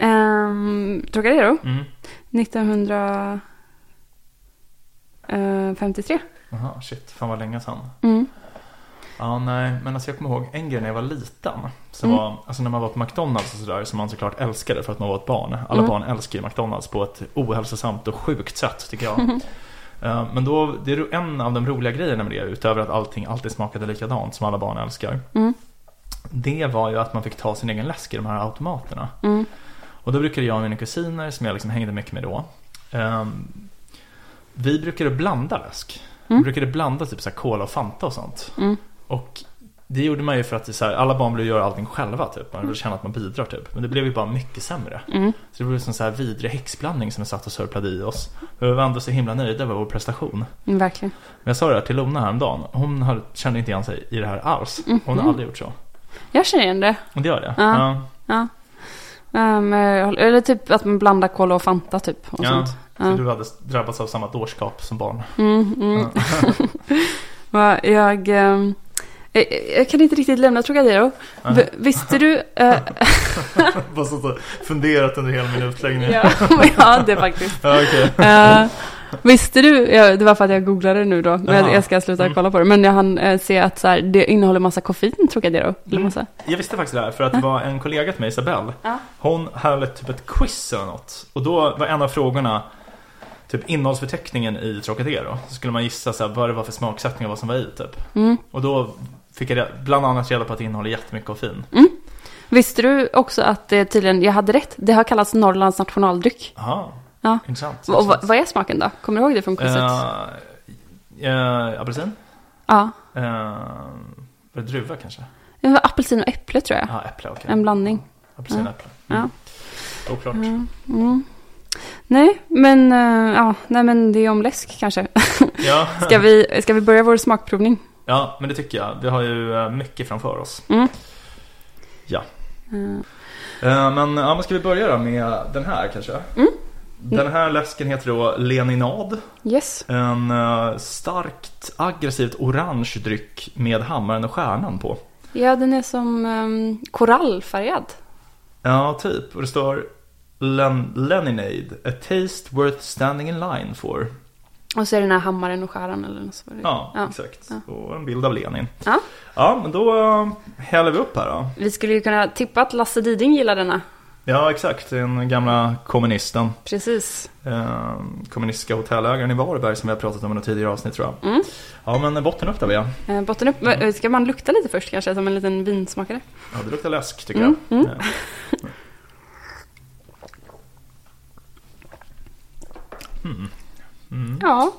S2: Ehm, Trocadero
S1: Mm.
S2: 1953.
S1: Aha, shit, fan vad länge sedan.
S2: eh, Mm.
S1: Ja, nej, men alltså jag kommer ihåg en grej när jag var liten. Så
S2: Mm.
S1: var, alltså när man var på McDonalds och sådär, som man såklart älskade för att man var ett barn. Alla
S2: Mm.
S1: barn älskar ju McDonalds på ett ohälsosamt och sjukt sätt tycker jag.
S2: Mm.
S1: Eh, Men då, det är en av de roliga grejerna med det, utöver att allting alltid smakade likadant som alla barn älskar.
S2: Mm.
S1: Det var ju att man fick ta sin egen läsk i de här automaterna.
S2: Mm.
S1: Och då brukade jag och mina kusiner, som jag liksom hängde mycket med då. ehm, vi brukade blanda läsk.
S2: Mm.
S1: Vi brukade blanda typ så här cola och Fanta och sånt.
S2: Mm.
S1: Och det gjorde man ju för att det är så här, alla barn vill ju göra allting själva typ. Man vill känna att man bidrar typ. Men det blev ju bara mycket sämre.
S2: Mm.
S1: Så det blev en sån här vidrig häxblandning som vi satt och sörplade i oss. Men Vi var ändå så himla nöjda med vår prestation.
S2: Mm, Verkligen.
S1: Men jag sa det här till Lona häromdagen. Hon hade, kände inte igen sig i det här alls. Hon har aldrig gjort så.
S2: Jag känner igen det.
S1: Och det gör det.
S2: Mm-hmm. Ja.
S1: Ja.
S2: Ja. Ehm, jag håller- eller typ att man blandar kola och Fanta typ. Och
S1: Ja.
S2: sånt.
S1: Så du hade drabbats av samma dårskap som barn.
S2: Mm, mm. Va, jag, ehm, eh, jag kan inte riktigt lämna Trocadero. V- Visste du? eh,
S1: Bara sånt där, funderat under hela min utläggning.
S2: ja, ja, det faktiskt.
S1: Ja, okej.
S2: Eh, visste du, ja, det var för att jag googlade nu då, men
S1: Aha.
S2: jag ska sluta
S1: Mm.
S2: kolla på det. Men jag hann eh, se att så här, det innehåller massa koffein, Trocadero. Eller
S1: Mm.
S2: massa.
S1: Jag visste faktiskt det här för att det var en kollega till mig, Isabelle.
S2: Ja.
S1: Hon hade typ ett quiz eller något. Och då var en av frågorna typ innehållsförteckningen i Trocadero. Så skulle man gissa så här, vad det var för smaksättning och vad som var i typ.
S2: Mm.
S1: Och då fick jag re- bland annat reda på att det innehåller jättemycket koffein.
S2: Visste du också att det tydligen, jag hade rätt, det har kallats Norrlands nationaldryck.
S1: Jaha,
S2: Ja.
S1: intressant.
S2: Och vad, vad är smaken då? Kommer du ihåg det från quizet?
S1: Eh, eh, apelsin?
S2: Ja.
S1: Eh, var det druva kanske?
S2: Det var apelsin och äpple tror jag.
S1: Ja, ah, äpple, okej.
S2: En blandning.
S1: Apelsin,
S2: Ja.
S1: äpple. Mm.
S2: Ja.
S1: Oklart.
S2: Mm. Nej, men, eh, ja, nej, men det är om läsk kanske.
S1: Ja.
S2: Ska vi, ska vi börja vår smakprovning?
S1: ja, men det tycker jag. Vi har ju eh, mycket framför oss.
S2: Mm.
S1: Ja.
S2: Eh,
S1: Eh, Men, ja, men ska vi börja då med den här kanske?
S2: Mm.
S1: Den här läsken heter då Leninad.
S2: yes.
S1: En eh, starkt aggressivt orange dryck med hammaren och stjärnan på.
S2: Ja, den är som um, korallfärgad.
S1: Ja, typ. Och det står Len- Leninade, a taste worth standing in line for.
S2: Och så är det den här hammaren och skäran eller något sånt.
S1: Ja,
S2: Ja.
S1: exakt.
S2: Ja.
S1: Och en bild av Lenin.
S2: Ja.
S1: Ja, men då eh, häller vi upp här då.
S2: Vi skulle ju kunna tippa att Lasse Diding gillar denna.
S1: Ja, exakt. Den gamla kommunisten.
S2: Precis.
S1: Eh, kommunistiska hotellägaren i Varberg som vi har pratat om i något tidigare avsnitt tror jag.
S2: Mm.
S1: Ja, men botten upp där vi är.
S2: Eh, botten upp. Eh, Ska man lukta lite först kanske, som en liten vinsmakare?
S1: Ja, det luktar läsk tycker
S2: Mm,
S1: jag. Eh,
S2: Ja.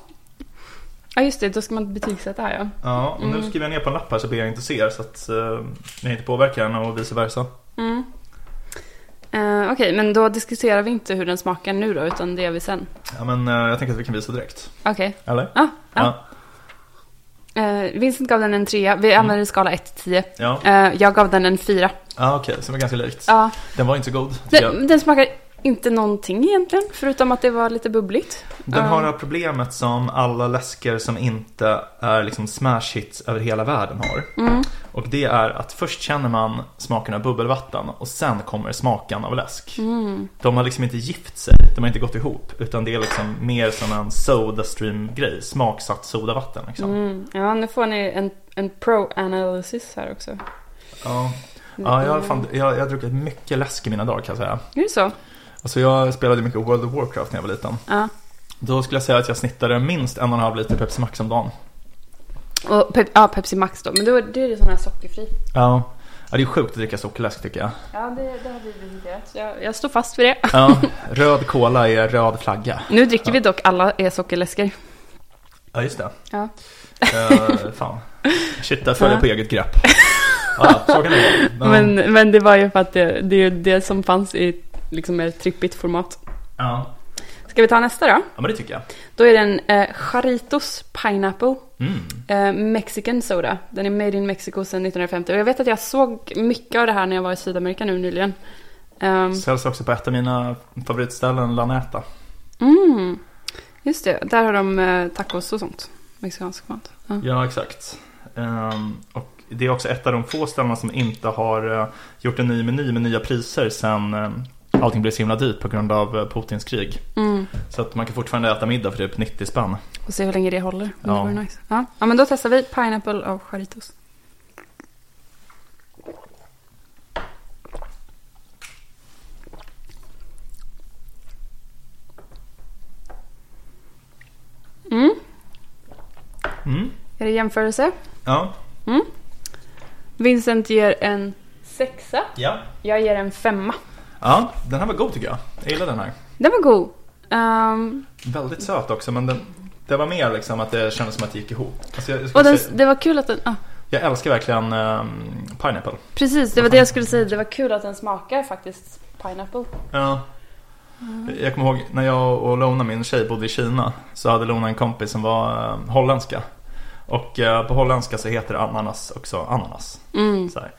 S2: Ja, just det. Då ska man betygsätta här ja.
S1: Ja, och nu
S2: Mm.
S1: skriver jag ner på en lapp här så blir jag inte ser så att eh, jag inte påverkar den och vice versa.
S2: Mm. Eh, Okej, men då diskuterar vi inte hur den smakar nu då, utan det gör vi sen.
S1: Ja, men eh, jag tänker att vi kan visa direkt.
S2: Okej.
S1: Eller?
S2: Ah, ah.
S1: Ja.
S2: Eh, Vincent gav den en trea. Vi använder skala 1 till 10.
S1: Ja,
S2: Eh, jag gav den en fyra.
S1: ja okej, så det var ganska likt.
S2: Ja.
S1: Den var inte så god. tycker jag.
S2: Den, den smakar inte någonting egentligen, förutom att det var lite bubbligt.
S1: Den har det
S2: Eh,
S1: här problemet som alla läsker som inte är liksom smash hits över hela världen har.
S2: Mm.
S1: Och det är att först känner man smaken av bubbelvatten och sen kommer smaken av läsk. De har liksom inte gift sig, de har inte gått ihop. Utan det är liksom mer som en Sodastream-grej, smaksatt sodavatten liksom.
S2: mm, ja, nu får ni en, en pro-analysis här också.
S1: Ja. Ja, jag, har fan, jag, jag har druckit mycket läsk i mina dagar kan jag säga.
S2: Är det så?
S1: Alltså jag spelade mycket World of Warcraft när jag var liten.
S2: Ja.
S1: Då skulle jag säga att jag snittade minst en och en halv liter Pepsi Max om dagen.
S2: Och pep- ja, Pepsi Max då. Men då, då är det sån här sockerfri.
S1: Ja, ja det är sjukt att dricka sockerläsk tycker jag.
S2: Ja, det, det har vi diskuterat. Så Jag, jag står fast vid det.
S1: Ja, röd cola är röd flagga.
S2: Nu dricker vi dock alla e sockerläskor.
S1: Ja, just det.
S2: Ja.
S1: Eh, fan. Shit, där föll jag på eget grepp. Ja, så kan det vara. Men,
S2: Men, men det var ju för att det, det är ju det som fanns i liksom mer trippigt format.
S1: Ja.
S2: Ska vi ta nästa då?
S1: ja, men det tycker jag.
S2: Då är det en eh, Charitos Pineapple
S1: Mm.
S2: eh, Mexican Soda. Den är made in Mexico sedan 1950. Och jag vet att jag såg mycket av det här när jag var i Sydamerika nu nyligen. Ehm,
S1: Säljs också på ett av mina favoritställen, Laneta.
S2: mm, just det, där har de eh, tacos och sånt. Mexikansk mat. Ja.
S1: Ja, exakt. Ehm, och det är också ett av de få ställena som inte har eh, gjort en ny meny med nya priser sen eh, allting blev så himla dyrt på grund av eh, Putins krig.
S2: Mm.
S1: Så att man kan fortfarande äta middag för typ 90 spänn.
S2: Och se hur länge det håller. Men
S1: Ja.
S2: Det vore nice. ja. ja, men då testar vi Pineapple av Charitos. Mm,
S1: Mm.
S2: är det jämförelse?
S1: Ja.
S2: Vincent ger en sexa.
S1: ja.
S2: Jag ger en femma.
S1: Ja, den här var god tycker jag. Jag gillar den här.
S2: Den var god. Ehm,
S1: Väldigt söt också, men den, det var mer liksom att det kändes som att det gick ihop. Alltså jag, jag, skulle
S2: och den,
S1: säga,
S2: det var kul att den... ah,
S1: jag älskar verkligen ehm, pineapple.
S2: precis, det var det jag skulle säga. Det var kul att den smakar faktiskt pineapple.
S1: Ja. Eh, Jag kommer ihåg när jag och Lona, min tjej, bodde i Kina. Så hade Lona en kompis som var eh, holländska. Och eh, på holländska så heter ananas också ananas.
S2: Mm.
S1: Så här.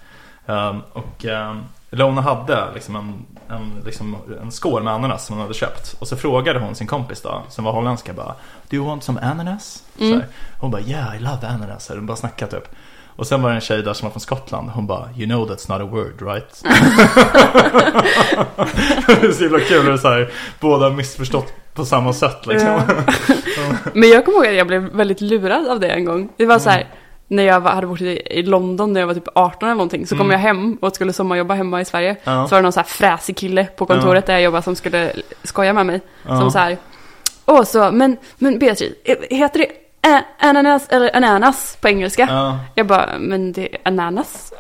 S1: Ehm, och ehm, Lona hade liksom en, en, liksom en skål med ananas som hon hade köpt. Och så frågade hon sin kompis då, som var holländska, bara Do you want some ananas? Så
S2: Mm.
S1: här. Hon bara Yeah, I love ananas. Så här, De bara snackade typ. Och sen var det en tjej där som var från Skottland. Hon bara You know that's not a word right? det är så himla kul hur det så här, båda har missförstått på samma sätt liksom.
S2: Ja. Eh. Men jag kommer ihåg att jag blev väldigt lurad av det en gång. Det var så
S1: Mm.
S2: här, när jag var, hade bott i, i London när jag var typ 18 eller någonting, så kom jag hem och skulle sommarjobba hemma i Sverige.
S1: Mm. Ja.
S2: Så var det någon så här fräsig kille på kontoret där jag jobbade som skulle skoja med mig.
S1: Ja.
S2: Som så här, åh så, men, men Beatrice, heter det ä- ananas eller ananas på engelska?
S1: Ja.
S2: Jag bara, men det är ananas.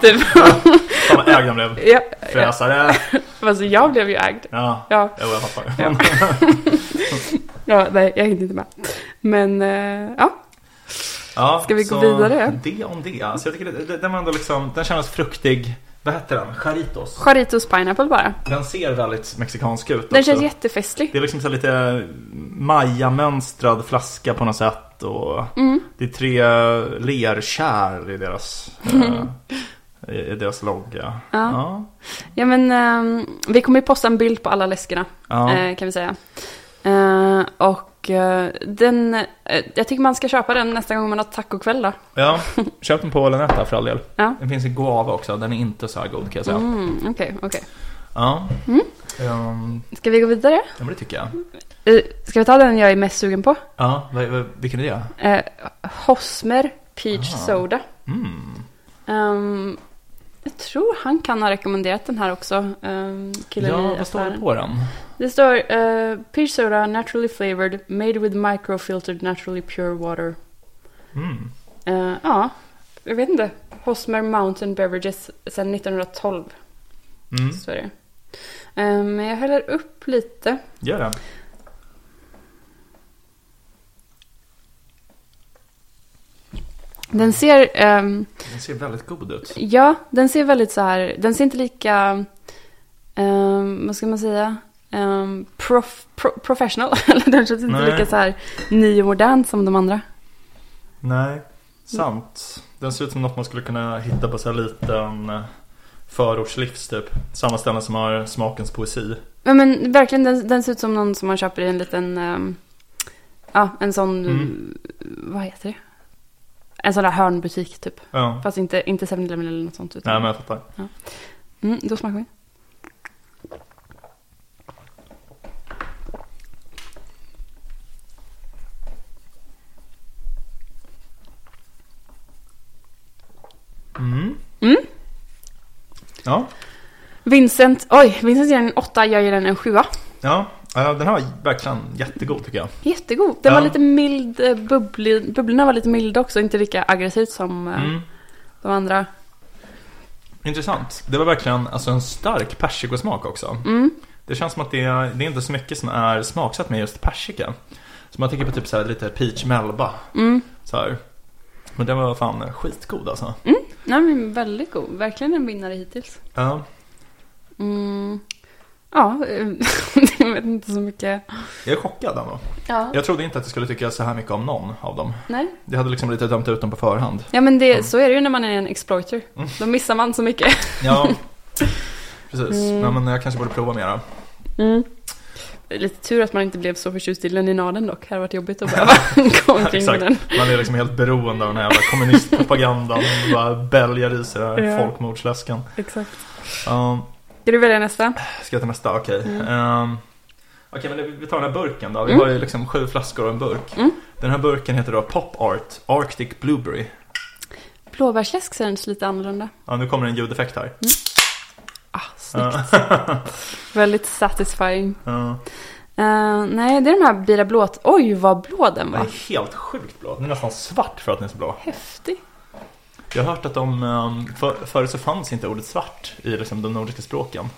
S2: typ.
S1: Fan vad ägd han blev.
S2: ja, ja.
S1: Fräsare.
S2: Alltså jag blev ju ägd.
S1: Ja,
S2: Ja.
S1: jo, jag fattar.
S2: Ja. ja, nej, jag hängde inte med. Men eh, ja,
S1: Ja,
S2: Ska vi gå
S1: så
S2: vidare?
S1: Det om det. Alltså jag tycker det, det, den var ändå liksom, den kändes fruktig. Vad heter den? Charitos.
S2: Charitos Pineapple bara.
S1: Den ser väldigt mexikansk ut
S2: Den
S1: också.
S2: känns jättefestlig.
S1: Det är liksom så här lite Maya-mönstrad flaska på något sätt. Och
S2: Mm.
S1: Det är tre lerkärl i deras, eh, i i deras logga.
S2: Ja.
S1: Ja.
S2: Ja men, ehm, vi kommer ju posta en bild på alla läskerna,
S1: Ja.
S2: eh, kan vi säga. Eh, och eh, den, eh, jag tycker man ska köpa den nästa gång man har tacokväll då.
S1: ja, köp den på Lanetta för all del.
S2: Ja.
S1: Den finns i guava också, den är inte så här god kan jag säga.
S2: Mm, Okej, okej.
S1: Ja. Ehm,
S2: Ska vi gå vidare?
S1: ja, men det tycker jag.
S2: Eh, ska vi ta den jag är mest sugen på?
S1: Ja, vad, vad, vilken är det?
S2: Eh, Hosmer Peach
S1: Ah.
S2: Soda.
S1: Mm.
S2: Ehm, jag tror han kan ha rekommenderat den här också, ehm, killen i
S1: Ja,
S2: affären.
S1: vad står det på den?
S2: Det står eh, Peach Soda Naturally Flavored Made with Microfiltered Naturally Pure Water.
S1: Mm.
S2: Eh, ja, jag vet inte. Hosmer Mountain Beverages sedan 1912.
S1: Mm.
S2: Så är det. Eh, men jag häller upp lite.
S1: Gör det. Mm.
S2: Den ser, ehm,
S1: Den ser väldigt god ut.
S2: ja, den ser väldigt så här, den ser inte lika, ehm, vad ska man säga, Ehm, prof, pro, professional. Eller den känns inte
S1: Nej.
S2: lika så här ny och modern som de andra.
S1: Nej.
S2: Mm.
S1: Sant. Den ser ut som något man skulle kunna hitta på så här liten eh, förortslivs typ. Samma ställe som har smakens poesi.
S2: Men, men verkligen, den, den ser ut som någon som man köper i en liten, ehm, ja, en sån,
S1: Mm.
S2: vad heter det? En sån där hörnbutik typ.
S1: Ja.
S2: Fast inte, inte 7-Eleven eller något sånt. Utan...
S1: Nej men jag fattar.
S2: mm, då smakar vi.
S1: Mm.
S2: Mm.
S1: Ja.
S2: Vincent, oj, Vincent ger den en åtta, jag ger den en sjua.
S1: Ja. Eh, Den här var verkligen jättegod tycker jag.
S2: Jättegod. Den var
S1: Ja.
S2: lite mild, eh, bubblig, bubblorna var lite milda också, inte lika aggressivt som eh,
S1: Mm.
S2: de andra.
S1: Intressant. Det var verkligen alltså, en stark persikosmak också.
S2: Mm,
S1: Det känns som att det, det är inte så mycket som är smaksatt med just persika. Så man tänker på typ så här lite peach melba.
S2: mm.
S1: Så här. Men den var fan skitgod alltså.
S2: Nej men väldigt god, verkligen en vinnare hittills.
S1: Ja.
S2: Mm. Ja, eh, jag vet inte så mycket.
S1: Jag är chockad ändå.
S2: Ja.
S1: Jag trodde inte att jag skulle tycka så här mycket om någon av dem.
S2: Nej.
S1: Jag hade liksom lite dömt ut dem på förhand.
S2: Ja men det, så är det ju när man är en exploiter. Då missar man så mycket.
S1: Ja, precis. Nej,
S2: Mm.
S1: men jag kanske borde prova mera.
S2: Det är Lite tur att man inte blev så förtjust i Leninaden dock. Det hade varit jobbigt att behöva gå omkring med
S1: Exakt.
S2: den.
S1: Man är liksom helt beroende av den här jävla kommunistpropagandan. och bara bälgar i sig den här
S2: Ja.
S1: folkmordsläsken.
S2: Exakt.
S1: Ehm,
S2: Ska du välja nästa?
S1: Ska jag ta nästa? Okej.
S2: Mm.
S1: Ehm, Okej, men vi- vi tar den här burken då. Vi
S2: Mm.
S1: har ju liksom sju flaskor och en burk.
S2: Mm.
S1: Den här burken heter då Pop Art Arctic Blueberry.
S2: Blåbärsläsk känns lite annorlunda.
S1: Ja, nu kommer en ljudeffekt här.
S2: Ah, snyggt. Väldigt satisfying.
S1: Ja.
S2: Eh, nej, det är de här Bira Blåt. Oj, vad blå den
S1: Den
S2: var.
S1: är helt sjukt blå. Den är nästan svart för att den är så blå.
S2: Häftig.
S1: Jag har hört att de, ehm, för, förut så fanns inte ordet svart i liksom, de nordiska språken.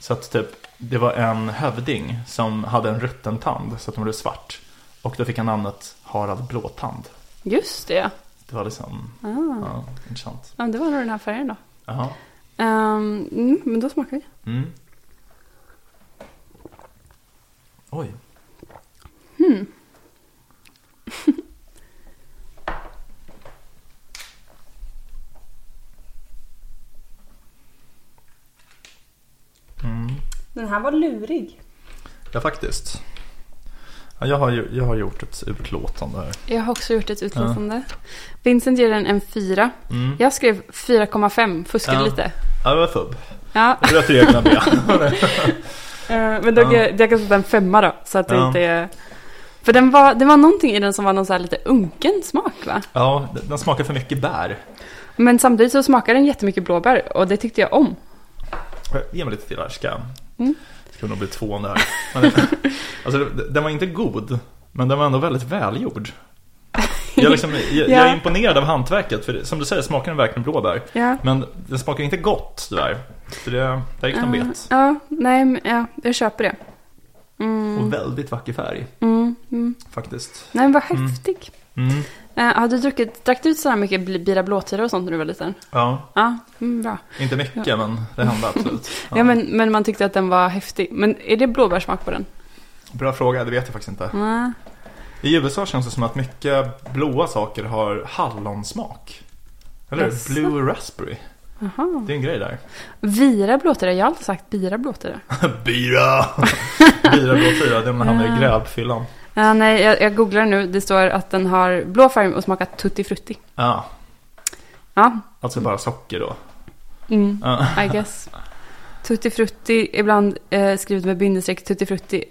S1: Så att typ, det var en hövding som hade en rutten tand så att den blev svart. Och då fick han namnet Harald Blåtand.
S2: Just det, ja.
S1: Det var liksom,
S2: Ah.
S1: ja, intressant.
S2: ja. Det var nog den här färgen då.
S1: Jaha.
S2: Ehm, mm, men då smakar vi.
S1: Mm. Oj. Mm.
S2: Den här var lurig.
S1: Ja, faktiskt. Ja, jag, har, ju- jag har gjort ett utlåtande här.
S2: Jag har också gjort ett utlåtande. Vincent ger den en 4.
S1: Mm.
S2: Jag skrev 4,5, fuskade
S1: Ja.
S2: lite.
S1: Ja, det var fubb.
S2: Ja,
S1: Det var egna ben.
S2: eh, men då
S1: Ja.
S2: jag jag kan sätta en femma då. Så att det
S1: Ja.
S2: inte är... För den var, det var någonting i den som var någon så här lite unken smak va?
S1: Ja, den den smakar för mycket bär.
S2: Men samtidigt så smakade den jättemycket blåbär och det tyckte jag om.
S1: Ge mig lite till här, ska
S2: Mm.
S1: Ska nog bli tvåan där. Men, alltså, det- den var inte god, men den var ändå väldigt välgjord. Jag, liksom, jag, jag
S2: Ja.
S1: är imponerad av hantverket, för det- som du säger smakar den verkligen blåbär.
S2: Ja.
S1: Men den smakar inte gott tyvärr. Så det, där gick de
S2: Mm.
S1: bet.
S2: Eh, ja, nej, men, ja, jag köper det.
S1: Och väldigt vacker färg,
S2: Mm, mm.
S1: faktiskt.
S2: Nej, men vad häftig.
S1: Mm.
S2: Eh, har du druckit, drack du ut sådär mycket bl- Bira Blåtira och sånt när du var liten?
S1: Ja,
S2: Ja, mm, bra.
S1: inte mycket, men det hände absolut.
S2: Ja, men, men man tyckte att den var häftig. Men är det blåbärssmak på den?
S1: Bra fråga, det vet jag faktiskt inte.
S2: Nej.
S1: I USA känns det som att mycket blåa saker har hallonsmak. Eller
S2: Jaså?
S1: hur? Blue raspberry.
S2: Jaha.
S1: Det är en grej där.
S2: Vira Blåtira, jag har alltid sagt Bira Blåtira.
S1: Bira! Bira blå fyra, det är när man hamnar i grälfyllan.
S2: Ja, nej, jag, jag googlar nu. Det står att den har blå färg och smakar tutti frutti.
S1: Ja,
S2: Ja,
S1: alltså bara socker då.
S2: mm,
S1: Ja.
S2: I guess. Tutti frutti, ibland eh, skrivet med bindestreck, tutti frutti,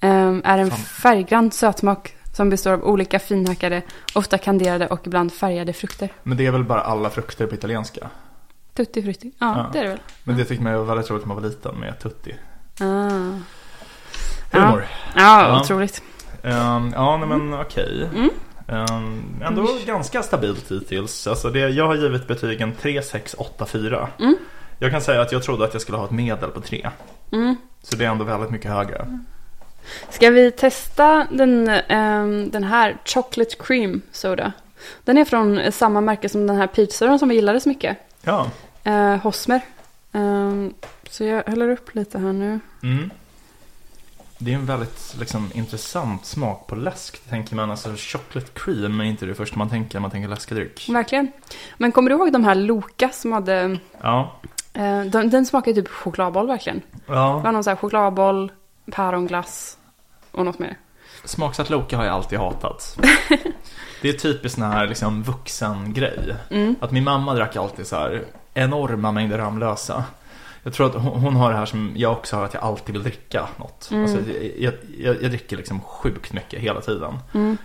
S2: ehm, är en
S1: Fan.
S2: färggrann sötsmak som består av olika finhackade, ofta kanderade och ibland färgade frukter.
S1: Men det är väl bara alla frukter på italienska.
S2: Tutti frutti, ja,
S1: Ja.
S2: det är det väl.
S1: Men det tyckte man ju var väldigt roligt när man var liten med tutti.
S2: Ah.
S1: Humor.
S2: Ja,
S1: Ja.
S2: otroligt.
S1: Ehm, ja, nej, men okej.
S2: Mm.
S1: Ehm, ändå ganska stabilt hittills. Alltså det, jag har givit betygen 3, 6, 8, 4.
S2: Mm.
S1: Jag kan säga att jag trodde att jag skulle ha ett medel på 3.
S2: Mm.
S1: Så det är ändå väldigt mycket högre.
S2: Ska vi testa den, ehm, den här Chocolate Cream Soda? Den är från eh, samma märke som den här pizzan som vi gillade så mycket.
S1: Ja.
S2: Eh, Hosmer. Ehm, så jag häller upp lite här nu.
S1: Mm. Det är en väldigt liksom, intressant smak på läsk. Tänker man alltså chocolate cream är inte det första man tänker när man tänker läskedryck.
S2: Verkligen. Men kommer du ihåg de här Loka som hade...
S1: Ja.
S2: eh, den, den smakade typ chokladboll verkligen. Det var
S1: ja.
S2: någon så här chokladboll, päronglass och något mer.
S1: Smaksatt Loka har jag alltid hatat. Det är typiskt sån här liksom, vuxen-grej.
S2: Mm.
S1: Att min mamma drack alltid så här enorma mängder Ramlösa. Jag tror att hon hon har det här som jag också har, att jag alltid vill dricka något. Alltså, jag, jag, jag dricker liksom sjukt mycket hela tiden.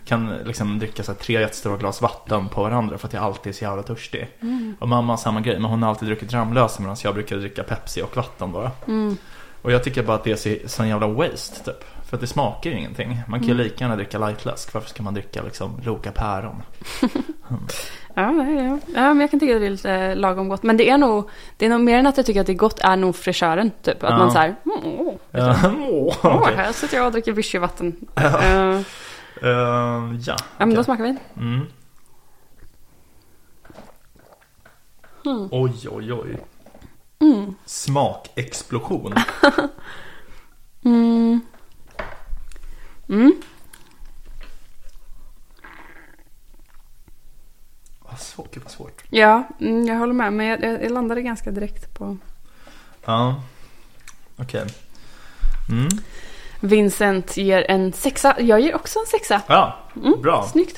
S1: Kan liksom dricka så här tre jättestora glas vatten på varandra för att jag alltid är så jävla törstig.
S2: Mm.
S1: Och mamma har samma grej, men hon har alltid druckit Ramlösa medan jag brukar dricka Pepsi och vatten bara.
S2: Mm.
S1: Och jag tycker bara att det är så- sån jävla waste typ. För att det smakar ju ingenting. Man kan
S2: Mm.
S1: ju lika gärna dricka lightläsk. Varför ska man dricka liksom Loka päron?
S2: Ja, ja, ja. ja, men jag kan tycka att det är lite lagom gott. Men det är nog, det är nog mer än att jag tycker att det är gott är nog fräschören. Typ att
S1: Ja.
S2: man så här, mm, åh,
S1: Åh,
S2: åh,
S1: Eh, okej.
S2: här sitter jag och dricker vichyvatten. Eh,
S1: Eh, ja,
S2: Ja, men
S1: okej.
S2: då smakar vi.
S1: Mm.
S2: Mm.
S1: Oj, oj, oj. Smakexplosion.
S2: Mm.
S1: Vad svårt, gud vad svårt.
S2: Ja, mm, jag håller med. Men jag, jag, jag landade ganska direkt på
S1: Ja, okej. Mm.
S2: Vincent ger en sexa. Jag ger också en sexa.
S1: Ja,
S2: Mm,
S1: bra.
S2: Snyggt.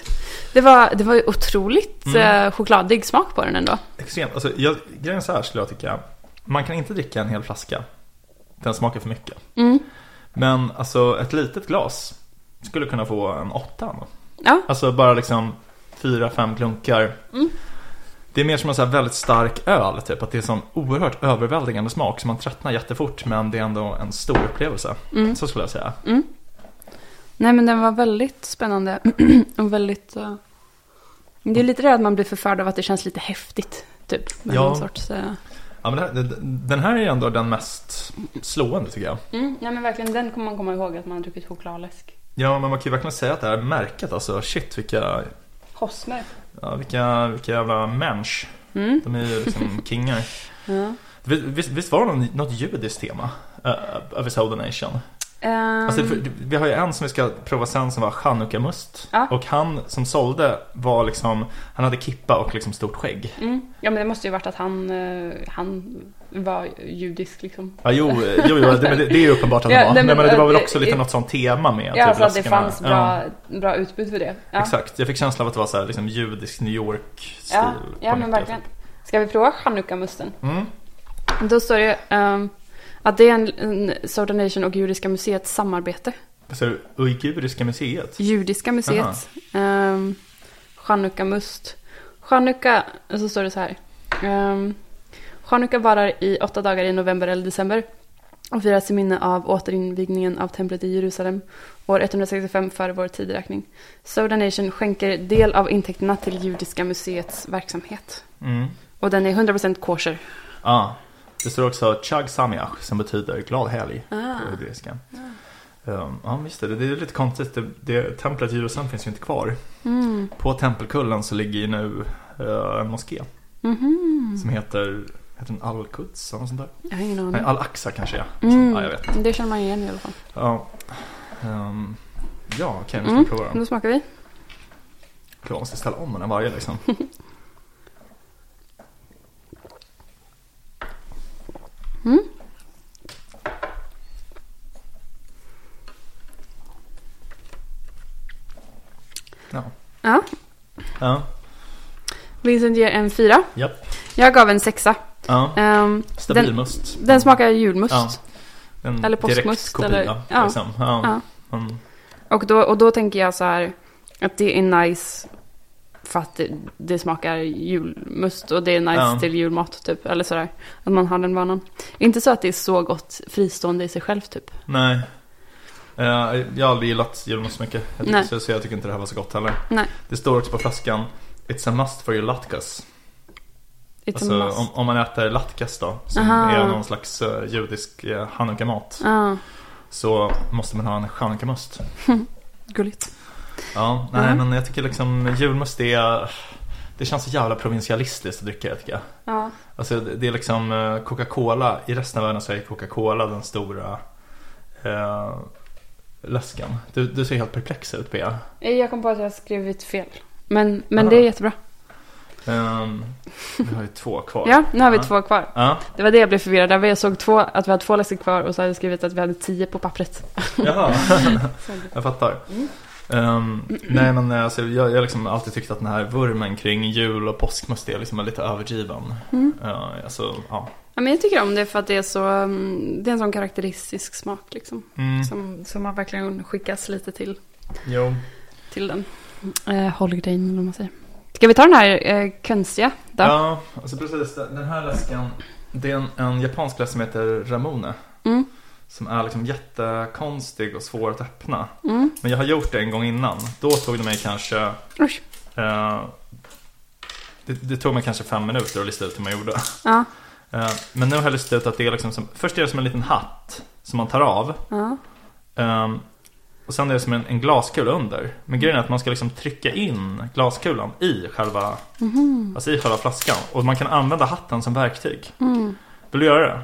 S2: Det var, det var ju otroligt
S1: Mm.
S2: eh, chokladig smak på den ändå.
S1: Extremt. Alltså, jag, grejen är så här skulle jag tycka. Man kan inte dricka en hel flaska. Den smakar för mycket.
S2: Mm.
S1: Men alltså ett litet glas skulle kunna få en åtta. ändå.
S2: Ja.
S1: Alltså bara liksom fyra, fem klunkar.
S2: Mm.
S1: Det är mer som en så här väldigt stark öl, typ. Att det är en sån oerhört överväldigande smak som man tröttnar jättefort. Men det är ändå en stor upplevelse.
S2: Mm.
S1: Så skulle jag säga.
S2: Nej men den var väldigt spännande och väldigt... eh, Det är lite det att man blir förförd av att det känns lite häftigt. Typ. Med
S1: Ja.
S2: någon sorts... eh,
S1: Ja, men det här, det- den här är ändå den mest slående tycker jag.
S2: Mm, nej men verkligen den kommer man komma ihåg att man har druckit chokladläsk.
S1: Ja, men man kan ju verkligen säga att det här märket alltså, shit vilka,
S2: Hosmer.
S1: ja, vilka, vilka jävla mensch.
S2: Mm.
S1: De är ju liksom kingar.
S2: Ja.
S1: Vi- Visst, visst var det någon, något judiskt tema? eh, Över Southern Nation.
S2: Ehm,
S1: Alltså, för- vi har ju en som vi ska prova sen som var chanukka-must.
S2: Ja.
S1: Och han som sålde var liksom, han hade kippa och liksom stort skägg.
S2: mm. Ja men det måste ju varit att han, eh, han var judisk liksom.
S1: Ja, jo, eh, jo, jo det, men det, det är ju uppenbart att han
S2: Ja,
S1: var.
S2: nej,
S1: Nej, men,
S2: men,
S1: det var väl
S2: eh,
S1: också lite
S2: eh,
S1: något sånt tema med.
S2: Ja, alltså att det
S1: läskarna.
S2: fanns
S1: Ja.
S2: bra, bra utbud för det. Ja.
S1: Exakt, jag fick känslan av att det var så här, liksom, judisk New York-stil.
S2: Ja,
S1: på
S2: ja men
S1: mycket,
S2: verkligen.
S1: typ.
S2: Ska vi prova chanukka-musten?
S1: Mm.
S2: Då står det ehm, att det är en, en Southern Nation och Judiska museets samarbete.
S1: Vad säger du? Alltså, Uiguriska museet?
S2: Judiska museet. Um, Chanukka-must. Chanukka, och så står det så här. Um, Chanukka varar i åtta dagar i november eller december och firas i minne av återinvigningen av templet i Jerusalem år 165 före vår tideräkning. Southern Nation skänker del av intäkterna till Judiska museets verksamhet.
S1: Mm.
S2: Och den är 100% kosher.
S1: Ja. Det står också Chag Samiach som betyder glad helg
S2: Ah.
S1: på hebreiska. Ehm, Ja, visst är det. Det är lite konstigt. Det, det, templet i Jerusalem finns ju inte kvar.
S2: Mm.
S1: På Tempelkullen så ligger ju nu eh, en moské
S2: Mhm.
S1: som heter, heter den Al-Quds eller något sånt där?
S2: Jag har ingen aning.
S1: Nej, Al-Aqsa kanske ja.
S2: Mm.
S1: ja jag vet.
S2: Det känner man igen i alla fall.
S1: Ja, Ehm, ja okej vi ska
S2: Mm.
S1: prova den.
S2: Nu smakar vi.
S1: Jag måste ställa om den här varje liksom.
S2: Mm.
S1: Ja.
S2: Ja.
S1: Ja,
S2: Vincent ger en fyra.
S1: japp.
S2: Jag gav en sexa.
S1: Ja,
S2: Ehm,
S1: stabil
S2: den,
S1: must.
S2: den smakar julmust.
S1: Ja. En
S2: eller
S1: direkt
S2: påskmust,
S1: kopia,
S2: eller- ja.
S1: Liksom. Ja.
S2: Ja.
S1: Mm.
S2: Och, då, och då tänker jag så här att det är nice för att det, det smakar julmust och det är nice
S1: Ja.
S2: till julmat typ. Eller sådär. Att man har den vanan. Inte så att det är så gott fristående i sig själv typ.
S1: Nej. Eh, jag har aldrig gillat julmust så mycket. Jag tycker,
S2: Nej.
S1: så, så jag tycker inte det här var så gott heller.
S2: Nej.
S1: Det står också på flaskan It's a must for your latkes.
S2: It's
S1: Alltså,
S2: a must.
S1: om, om man äter latkes då, som
S2: Aha.
S1: är någon slags eh, judisk uh, hanukkamat,
S2: Ja,
S1: så måste man ha en chanukkamust.
S2: gulligt.
S1: Ja, nej
S2: Mm.
S1: men jag tycker liksom julmust är, det känns så jävla provinsialistiskt att dricka jag tycker jag.
S2: Ja.
S1: Alltså det det är liksom eh, Coca-Cola, i resten av världen så är Coca-Cola den stora eh, läsken. Du, du ser helt perplex ut Bea.
S2: Eh, Jag kom på att jag har skrivit fel. Men, men
S1: Aha.
S2: det är jättebra.
S1: Ehm, vi har ju två kvar.
S2: Ja, nu har vi
S1: Ja.
S2: två kvar.
S1: Ja,
S2: Det var det jag blev förvirrad av. Jag såg två, att vi hade två läskor kvar och så hade jag skrivit att vi hade tio på pappret.
S1: jaha. jag fattar.
S2: Mm.
S1: Ehm, nej men eh, alltså, jag jag har liksom alltid tyckt att den här vurmen kring jul och påskmust är liksom lite överdriven.
S2: Mm.
S1: Eh, alltså, ja.
S2: Ja, men jag tycker om det för att det är, så, mm, det är en sån karaktäristisk smak liksom.
S1: Mm,
S2: Som, som man verkligen skickas lite till,
S1: jo.
S2: till den. Eh, Holidayn eller vad man säger. Ska vi ta den här eh, konstiga då?
S1: Ja, alltså precis. Den här läsken, det är en, en japansk läsk som heter Ramune.
S2: Mm.
S1: Som är liksom jättekonstig och svår att öppna.
S2: Mm.
S1: Men jag har gjort det en gång innan. Då tog det mig kanske
S2: Usch.
S1: eh, det, det tog mig kanske fem minuter att lista ut hur man gjorde.
S2: Ja.
S1: Eh, men nu har jag listat ut att det är liksom som, först är det som en liten hatt som man tar av.
S2: ja.
S1: Ehm, och sen är det som en, en glaskula under. Men grejen är att man ska liksom trycka in glaskulan i själva,
S2: Mhm.
S1: alltså i själva flaskan. Och man kan använda hatten som verktyg.
S2: Mm.
S1: Vill du göra det?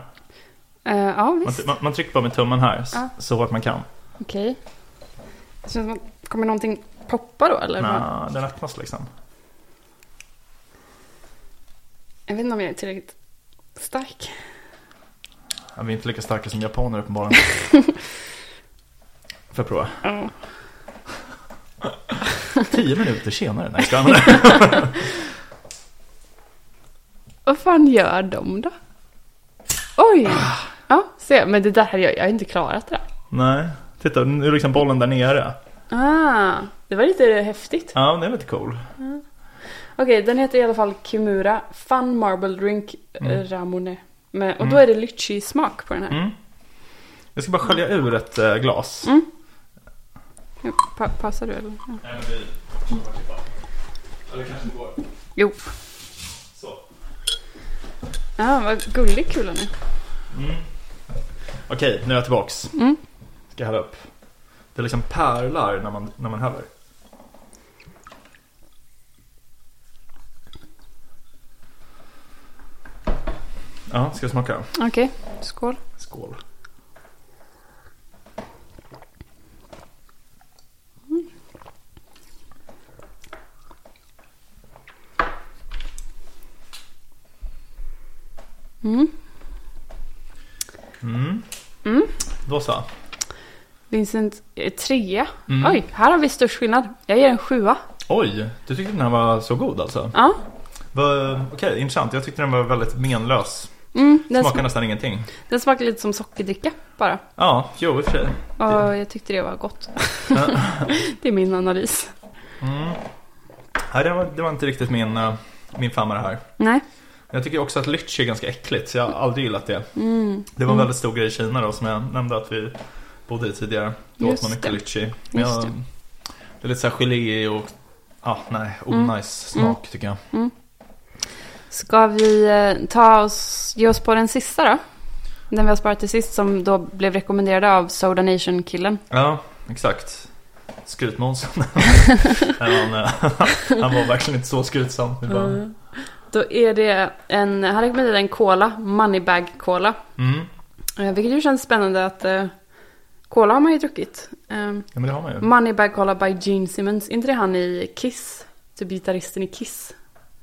S2: Eh, ja,
S1: Man,
S2: visst.
S1: man, man trycker bara med tummen här s-
S2: Ja.
S1: så hårt man kan.
S2: Okej. Det känns som att- Kommer någonting poppa då eller?
S1: Nja, den öppnas liksom.
S2: Jag vet inte om jag är tillräckligt stark.
S1: Ja, vi är inte lika starka som japaner uppenbarligen. Får jag prova?
S2: Ja.
S1: Tio minuter senare. Nej, ska jag använda det?
S2: Vad fan gör de då? Oj!
S1: Ah.
S2: Ja, se. Men det där hade jag, jag har inte klarat det där.
S1: Nej, titta nu är liksom bollen där nere.
S2: Ah, det var lite häftigt.
S1: Ja, den är lite cool.
S2: Okej, den heter i alla fall Kimura Fun Marble Drink eh, Ramune. Med, och då är det lychee-smak på den här.
S1: Mm. Jag ska bara skölja ur ett eh, glas.
S2: Mm. Ja, Pa passar du eller? Ja.
S1: Nej, men vi provar typ av. Eller kanske det går.
S2: Jo.
S1: Så.
S2: Ja, vad gullig kulan är.
S1: Okej, nu är jag tillbaks. Ska jag hälla upp. Det liksom pärlar när man, när man häller. Ja, ska jag smaka?
S2: Okej, skål.
S1: Skål. Mm. Mm. Då så.
S2: Vincent eh, trea.
S1: Mm.
S2: Oj, här har vi störst skillnad. Jag ger en sjua.
S1: Oj, du tyckte den här var så god alltså?
S2: Ja.
S1: Vad- Okej, intressant. Jag tyckte den var väldigt menlös.
S2: Mm, den,
S1: Smakar
S2: sm-
S1: nästan ingenting.
S2: den smakar lite som sockerdricka bara.
S1: Ja, jo i och för sig.
S2: Och jag tyckte det var gott. det är min analys.
S1: Nej, det var, det var inte riktigt min, eh, min femma det här.
S2: Nej.
S1: Jag tycker också att lychee är ganska äckligt, så jag har aldrig gillat det.
S2: Mm.
S1: Det var en väldigt stor grej i Kina då, som jag nämnde att vi bodde i tidigare. Då åt
S2: Just
S1: man mycket
S2: det.
S1: lychee. Men
S2: Just
S1: jag,
S2: det.
S1: det är lite såhär gelé och, ah, nej,
S2: Mm.
S1: onajs smak tycker jag.
S2: Ska vi eh, ta oss, ge oss på den sista då? Den vi har sparat till sist som då blev rekommenderad av Soda Nation-killen.
S1: Ja, exakt. Skrutmånsen. han, eh, han var verkligen inte så skrutsam. Det var-
S2: Mm. Då är det en, han rekommenderade en cola, Moneybag Cola.
S1: Mm.
S2: Eh, Vilket ju känns spännande att eh, cola har man ju druckit. Eh,
S1: Ja men det har man ju.
S2: Moneybag Cola by Gene Simmons, är inte det han i Kiss? Typ gitarristen i Kiss.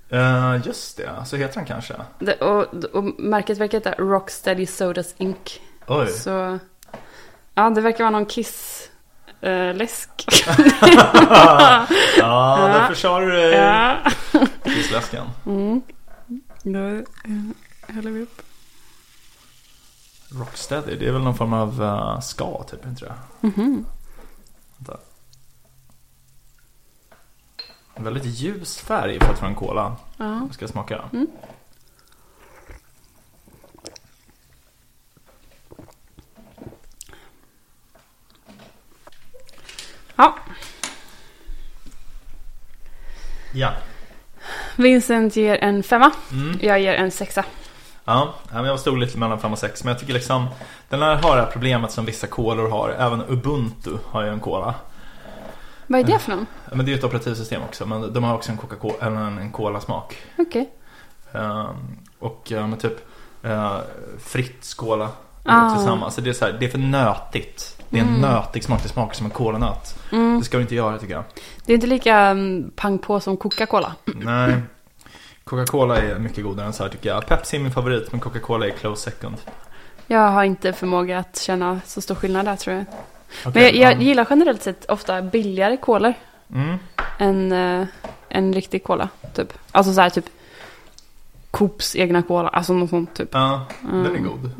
S1: Eh, just det, så heter han kanske.
S2: Det, och, och märket verkar heta Rocksteady Sodas Inc.
S1: Oj.
S2: Så, ja det verkar vara någon eh, Kiss-läsk.
S1: Ja, därför kör du dig.
S2: ja.
S1: Kissläsken.
S2: Då eh, häller vi upp.
S1: Rocksteady, det är väl någon form av eh, ska typ, inte det?
S2: Mhm.
S1: Vänta. En väldigt ljus färg för att vara en cola.
S2: Ja. Mm.
S1: Jag ska smaka.
S2: ja.
S1: Ja. Mm.
S2: Vincent ger en femma. Jag ger en sexa.
S1: Ja, ja, men jag stod lite mellan 5 och 6 men jag tycker liksom Den här har det här problemet som vissa kolor har, även Ubuntu har ju en kola.
S2: Vad är
S1: Mm.
S2: det för någon?
S1: Men det är ju ett operativsystem också, men de har också en Coca-Cola, eller en, en cola-smak.
S2: Okej.
S1: Ehm, och eh, men typ uh, fritt skåla
S2: Ah. Mm.
S1: tillsammans. Så det, är så här, det är för nötigt. Det är en nötig smak. Det smakar som en kolanöt. Det ska du inte göra tycker jag.
S2: Det är inte lika mm, pang på som Coca-Cola.
S1: Nej. Coca-Cola är mycket godare än så här tycker jag. Pepsi är min favorit men Coca-Cola är close second.
S2: Jag har inte förmåga att känna så stor skillnad där tror jag. Men jag,
S1: Okej,
S2: jag
S1: um,
S2: gillar generellt sett ofta billigare kolor
S1: mm,
S2: än eh, en riktig cola. Typ. Alltså så här typ Coops egna cola. Alltså något sånt typ.
S1: ja, den är god.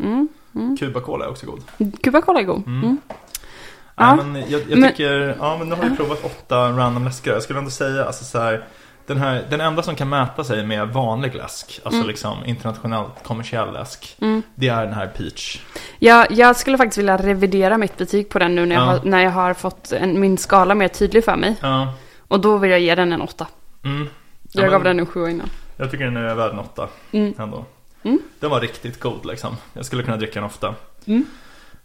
S1: Cuba-cola är också god.
S2: Cuba-cola är god. Mm.
S1: Nej,
S2: Ja.
S1: men jag, jag
S2: Men-
S1: tycker, ja men nu har vi provat åtta random läskar. Jag skulle ändå säga, alltså så här, den, här, den enda som kan mäta sig med vanlig läsk, alltså
S2: Mm.
S1: liksom internationellt kommersiell läsk, det är den här Peach.
S2: Jag, jag skulle faktiskt vilja revidera mitt betyg på den nu när jag,
S1: Ja.
S2: har, när jag har fått en, min skala mer tydlig för mig.
S1: Ja,
S2: Och då vill jag ge den en åtta.
S1: mm. Ja,
S2: Jag
S1: men-
S2: gav den en sjua innan.
S1: Jag tycker den är värd en åtta
S2: Mm.
S1: ändå.
S2: Mm.
S1: Den var riktigt god liksom. Jag skulle kunna dricka den ofta.
S2: Mm.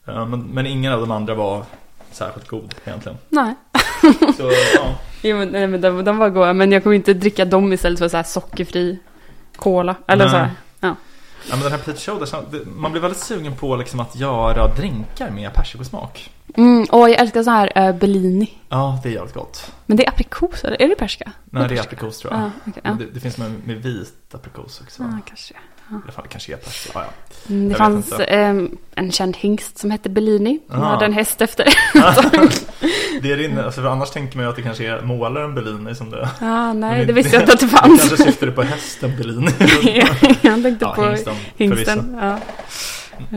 S1: Ja, men, men ingen av de andra var särskilt god egentligen.
S2: Nej.
S1: Så, ja.
S2: Jo, men, nej, men de, de var goda. Men jag kommer inte dricka dem istället för så här sockerfri cola. Eller
S1: Nej.
S2: så här.
S1: Ja, men den här Pete Show, man blir väldigt sugen på liksom att göra drinkar med persikosmak.
S2: Mm, och jag älskar så här eh, Bellini.
S1: Ja, det är jävligt gott.
S2: Men det är aprikos, eller? Är det persika?
S1: Nej, det är aprikos tror jag.
S2: Ja, okej, ja.
S1: Men det, det finns med, med vit aprikos också.
S2: Ja, kanske.
S1: I alla fall kanske är persika. Ja, ja.
S2: Mm, det
S1: vet
S2: fanns
S1: inte.
S2: ehm, en känd hingst som hette Bellini. Han
S1: Ah.
S2: hade en häst efter.
S1: Det är din, alltså, för annars tänker man ju att det kanske är målaren Bellini som det
S2: ah,
S1: Men
S2: nej,
S1: det-
S2: det visste jag inte att det fanns.
S1: Kanske syftade på hästen Bellini.
S2: jag tänkte
S1: ja,
S2: på hingsten.
S1: hingsten. Hingsten.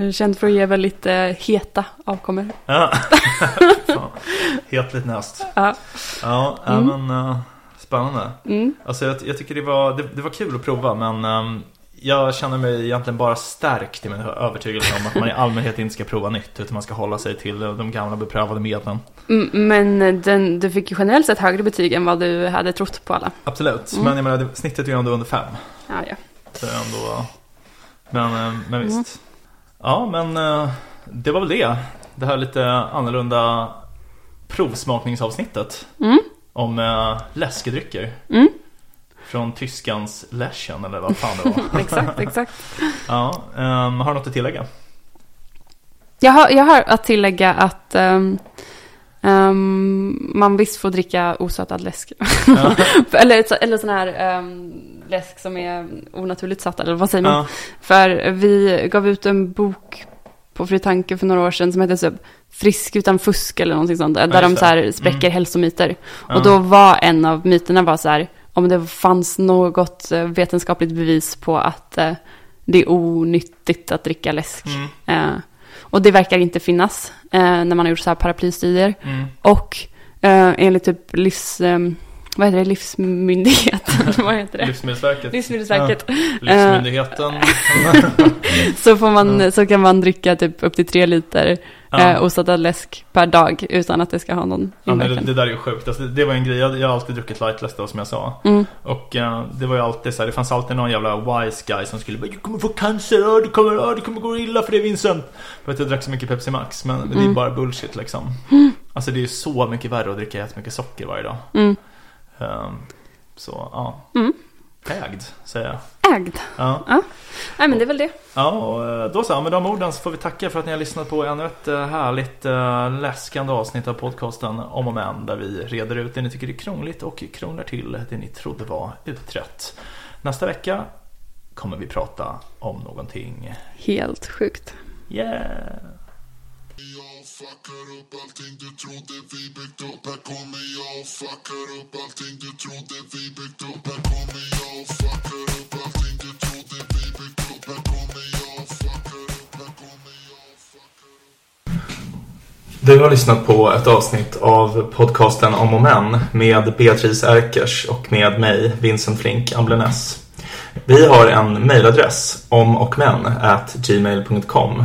S2: Ja. Känd för att ge väldigt eh, heta avkommor.
S1: Ja. Fan. Het liten häst.
S2: Ja.
S1: Ja, ja,
S2: Mm.
S1: men eh, spännande.
S2: Mm.
S1: Alltså jag, jag tycker det var, det, det var kul att prova men ehm, jag känner mig egentligen bara stärkt i min övertygelse om att man i allmänhet inte ska prova nytt utan man ska hålla sig till eh, de gamla beprövade medlen.
S2: Mm, Men den, du fick ju generellt sett högre betyg än vad du hade trott på alla.
S1: Absolut,
S2: Mm.
S1: men jag menar det- snittet är ju ändå under fem.
S2: Ja, ja.
S1: Så det är ändå, men, eh,
S2: Mm.
S1: men visst. Ja, men eh, det var väl det. Det här lite annorlunda provsmakningsavsnittet
S2: Mm.
S1: om eh, läskedrycker.
S2: Mm.
S1: Från tyskans läschen eller vad fan det var.
S2: Exakt, exakt.
S1: ja, ehm, har du något att tillägga?
S2: Jag har, jag har att tillägga att ehm, ehm, man visst får dricka osötad läsk.
S1: Ja.
S2: eller, så- eller sån här ehm, läsk som är onaturligt sötad, eller vad säger man?
S1: Ja.
S2: För vi gav ut en bok på Fri Tanke för några år sedan som hette så Frisk utan fusk eller någonting sånt där.
S1: just
S2: Där de
S1: det.
S2: så här spräcker hälsomyter.
S1: Ja.
S2: Och då var en av myterna var så här, om det fanns något eh, vetenskapligt bevis på att eh, det är onyttigt att dricka läsk.
S1: Mm,
S2: Eh, och det verkar inte finnas eh, när man har gjort så här paraplystudier.
S1: mm.
S2: Och eh, enligt typ livs, eh, vad heter det, livsmyndigheten, vad heter det?
S1: Livsmedelsverket.
S2: Livsmedelsverket.
S1: Ja. Livsmyndigheten.
S2: Så, får man, så kan man dricka typ upp till tre liter eh,
S1: Ja.
S2: osaltad läsk per dag utan att det ska ha någon
S1: Ja, men det,
S2: inverkan.
S1: det där är ju sjukt. Alltså, det, det var en grej. Jag, jag har alltid druckit lightless då som jag sa.
S2: Mm.
S1: Och eh, det var ju alltid så här, det fanns alltid någon jävla wise guy som skulle bara Du kommer få cancer, ja, du kommer, ja, du kommer gå illa för det Vincent För att jag drack så mycket Pepsi Max, men det är
S2: Mm.
S1: bara bullshit liksom Alltså det är ju så mycket värre att dricka jättemycket socker varje dag
S2: Mm.
S1: Ehm, Så, ja
S2: Mm.
S1: Ägd, säger jag
S2: Ägd.
S1: Ja,
S2: Nej men det är väl det.
S1: ja och eh, då så, Ja, med de orden så får vi tacka för att ni har lyssnat på ännu ett eh, härligt eh, läskande avsnitt av podcasten Om och Men där vi reder ut det ni tycker är krångligt och krånglar till det ni trodde var utrett. Nästa vecka kommer vi prata om någonting.
S2: Helt sjukt.
S1: Yeah!
S3: Jag fuckar upp allting du trodde vi byggt upp Här kommer jag och fuckar upp allting du trodde vi byggt upp Här kommer jag och fuckar upp allting du trodde vi byggt upp Här kommer jag och fuckar upp Här kommer jag och fuckar upp
S1: Du har lyssnat på ett avsnitt av podcasten Om och Män med Beatrice Erkers och med mig, Vincent Flink Amblenäs. Vi har en mejladress, omochmän@gmail.com.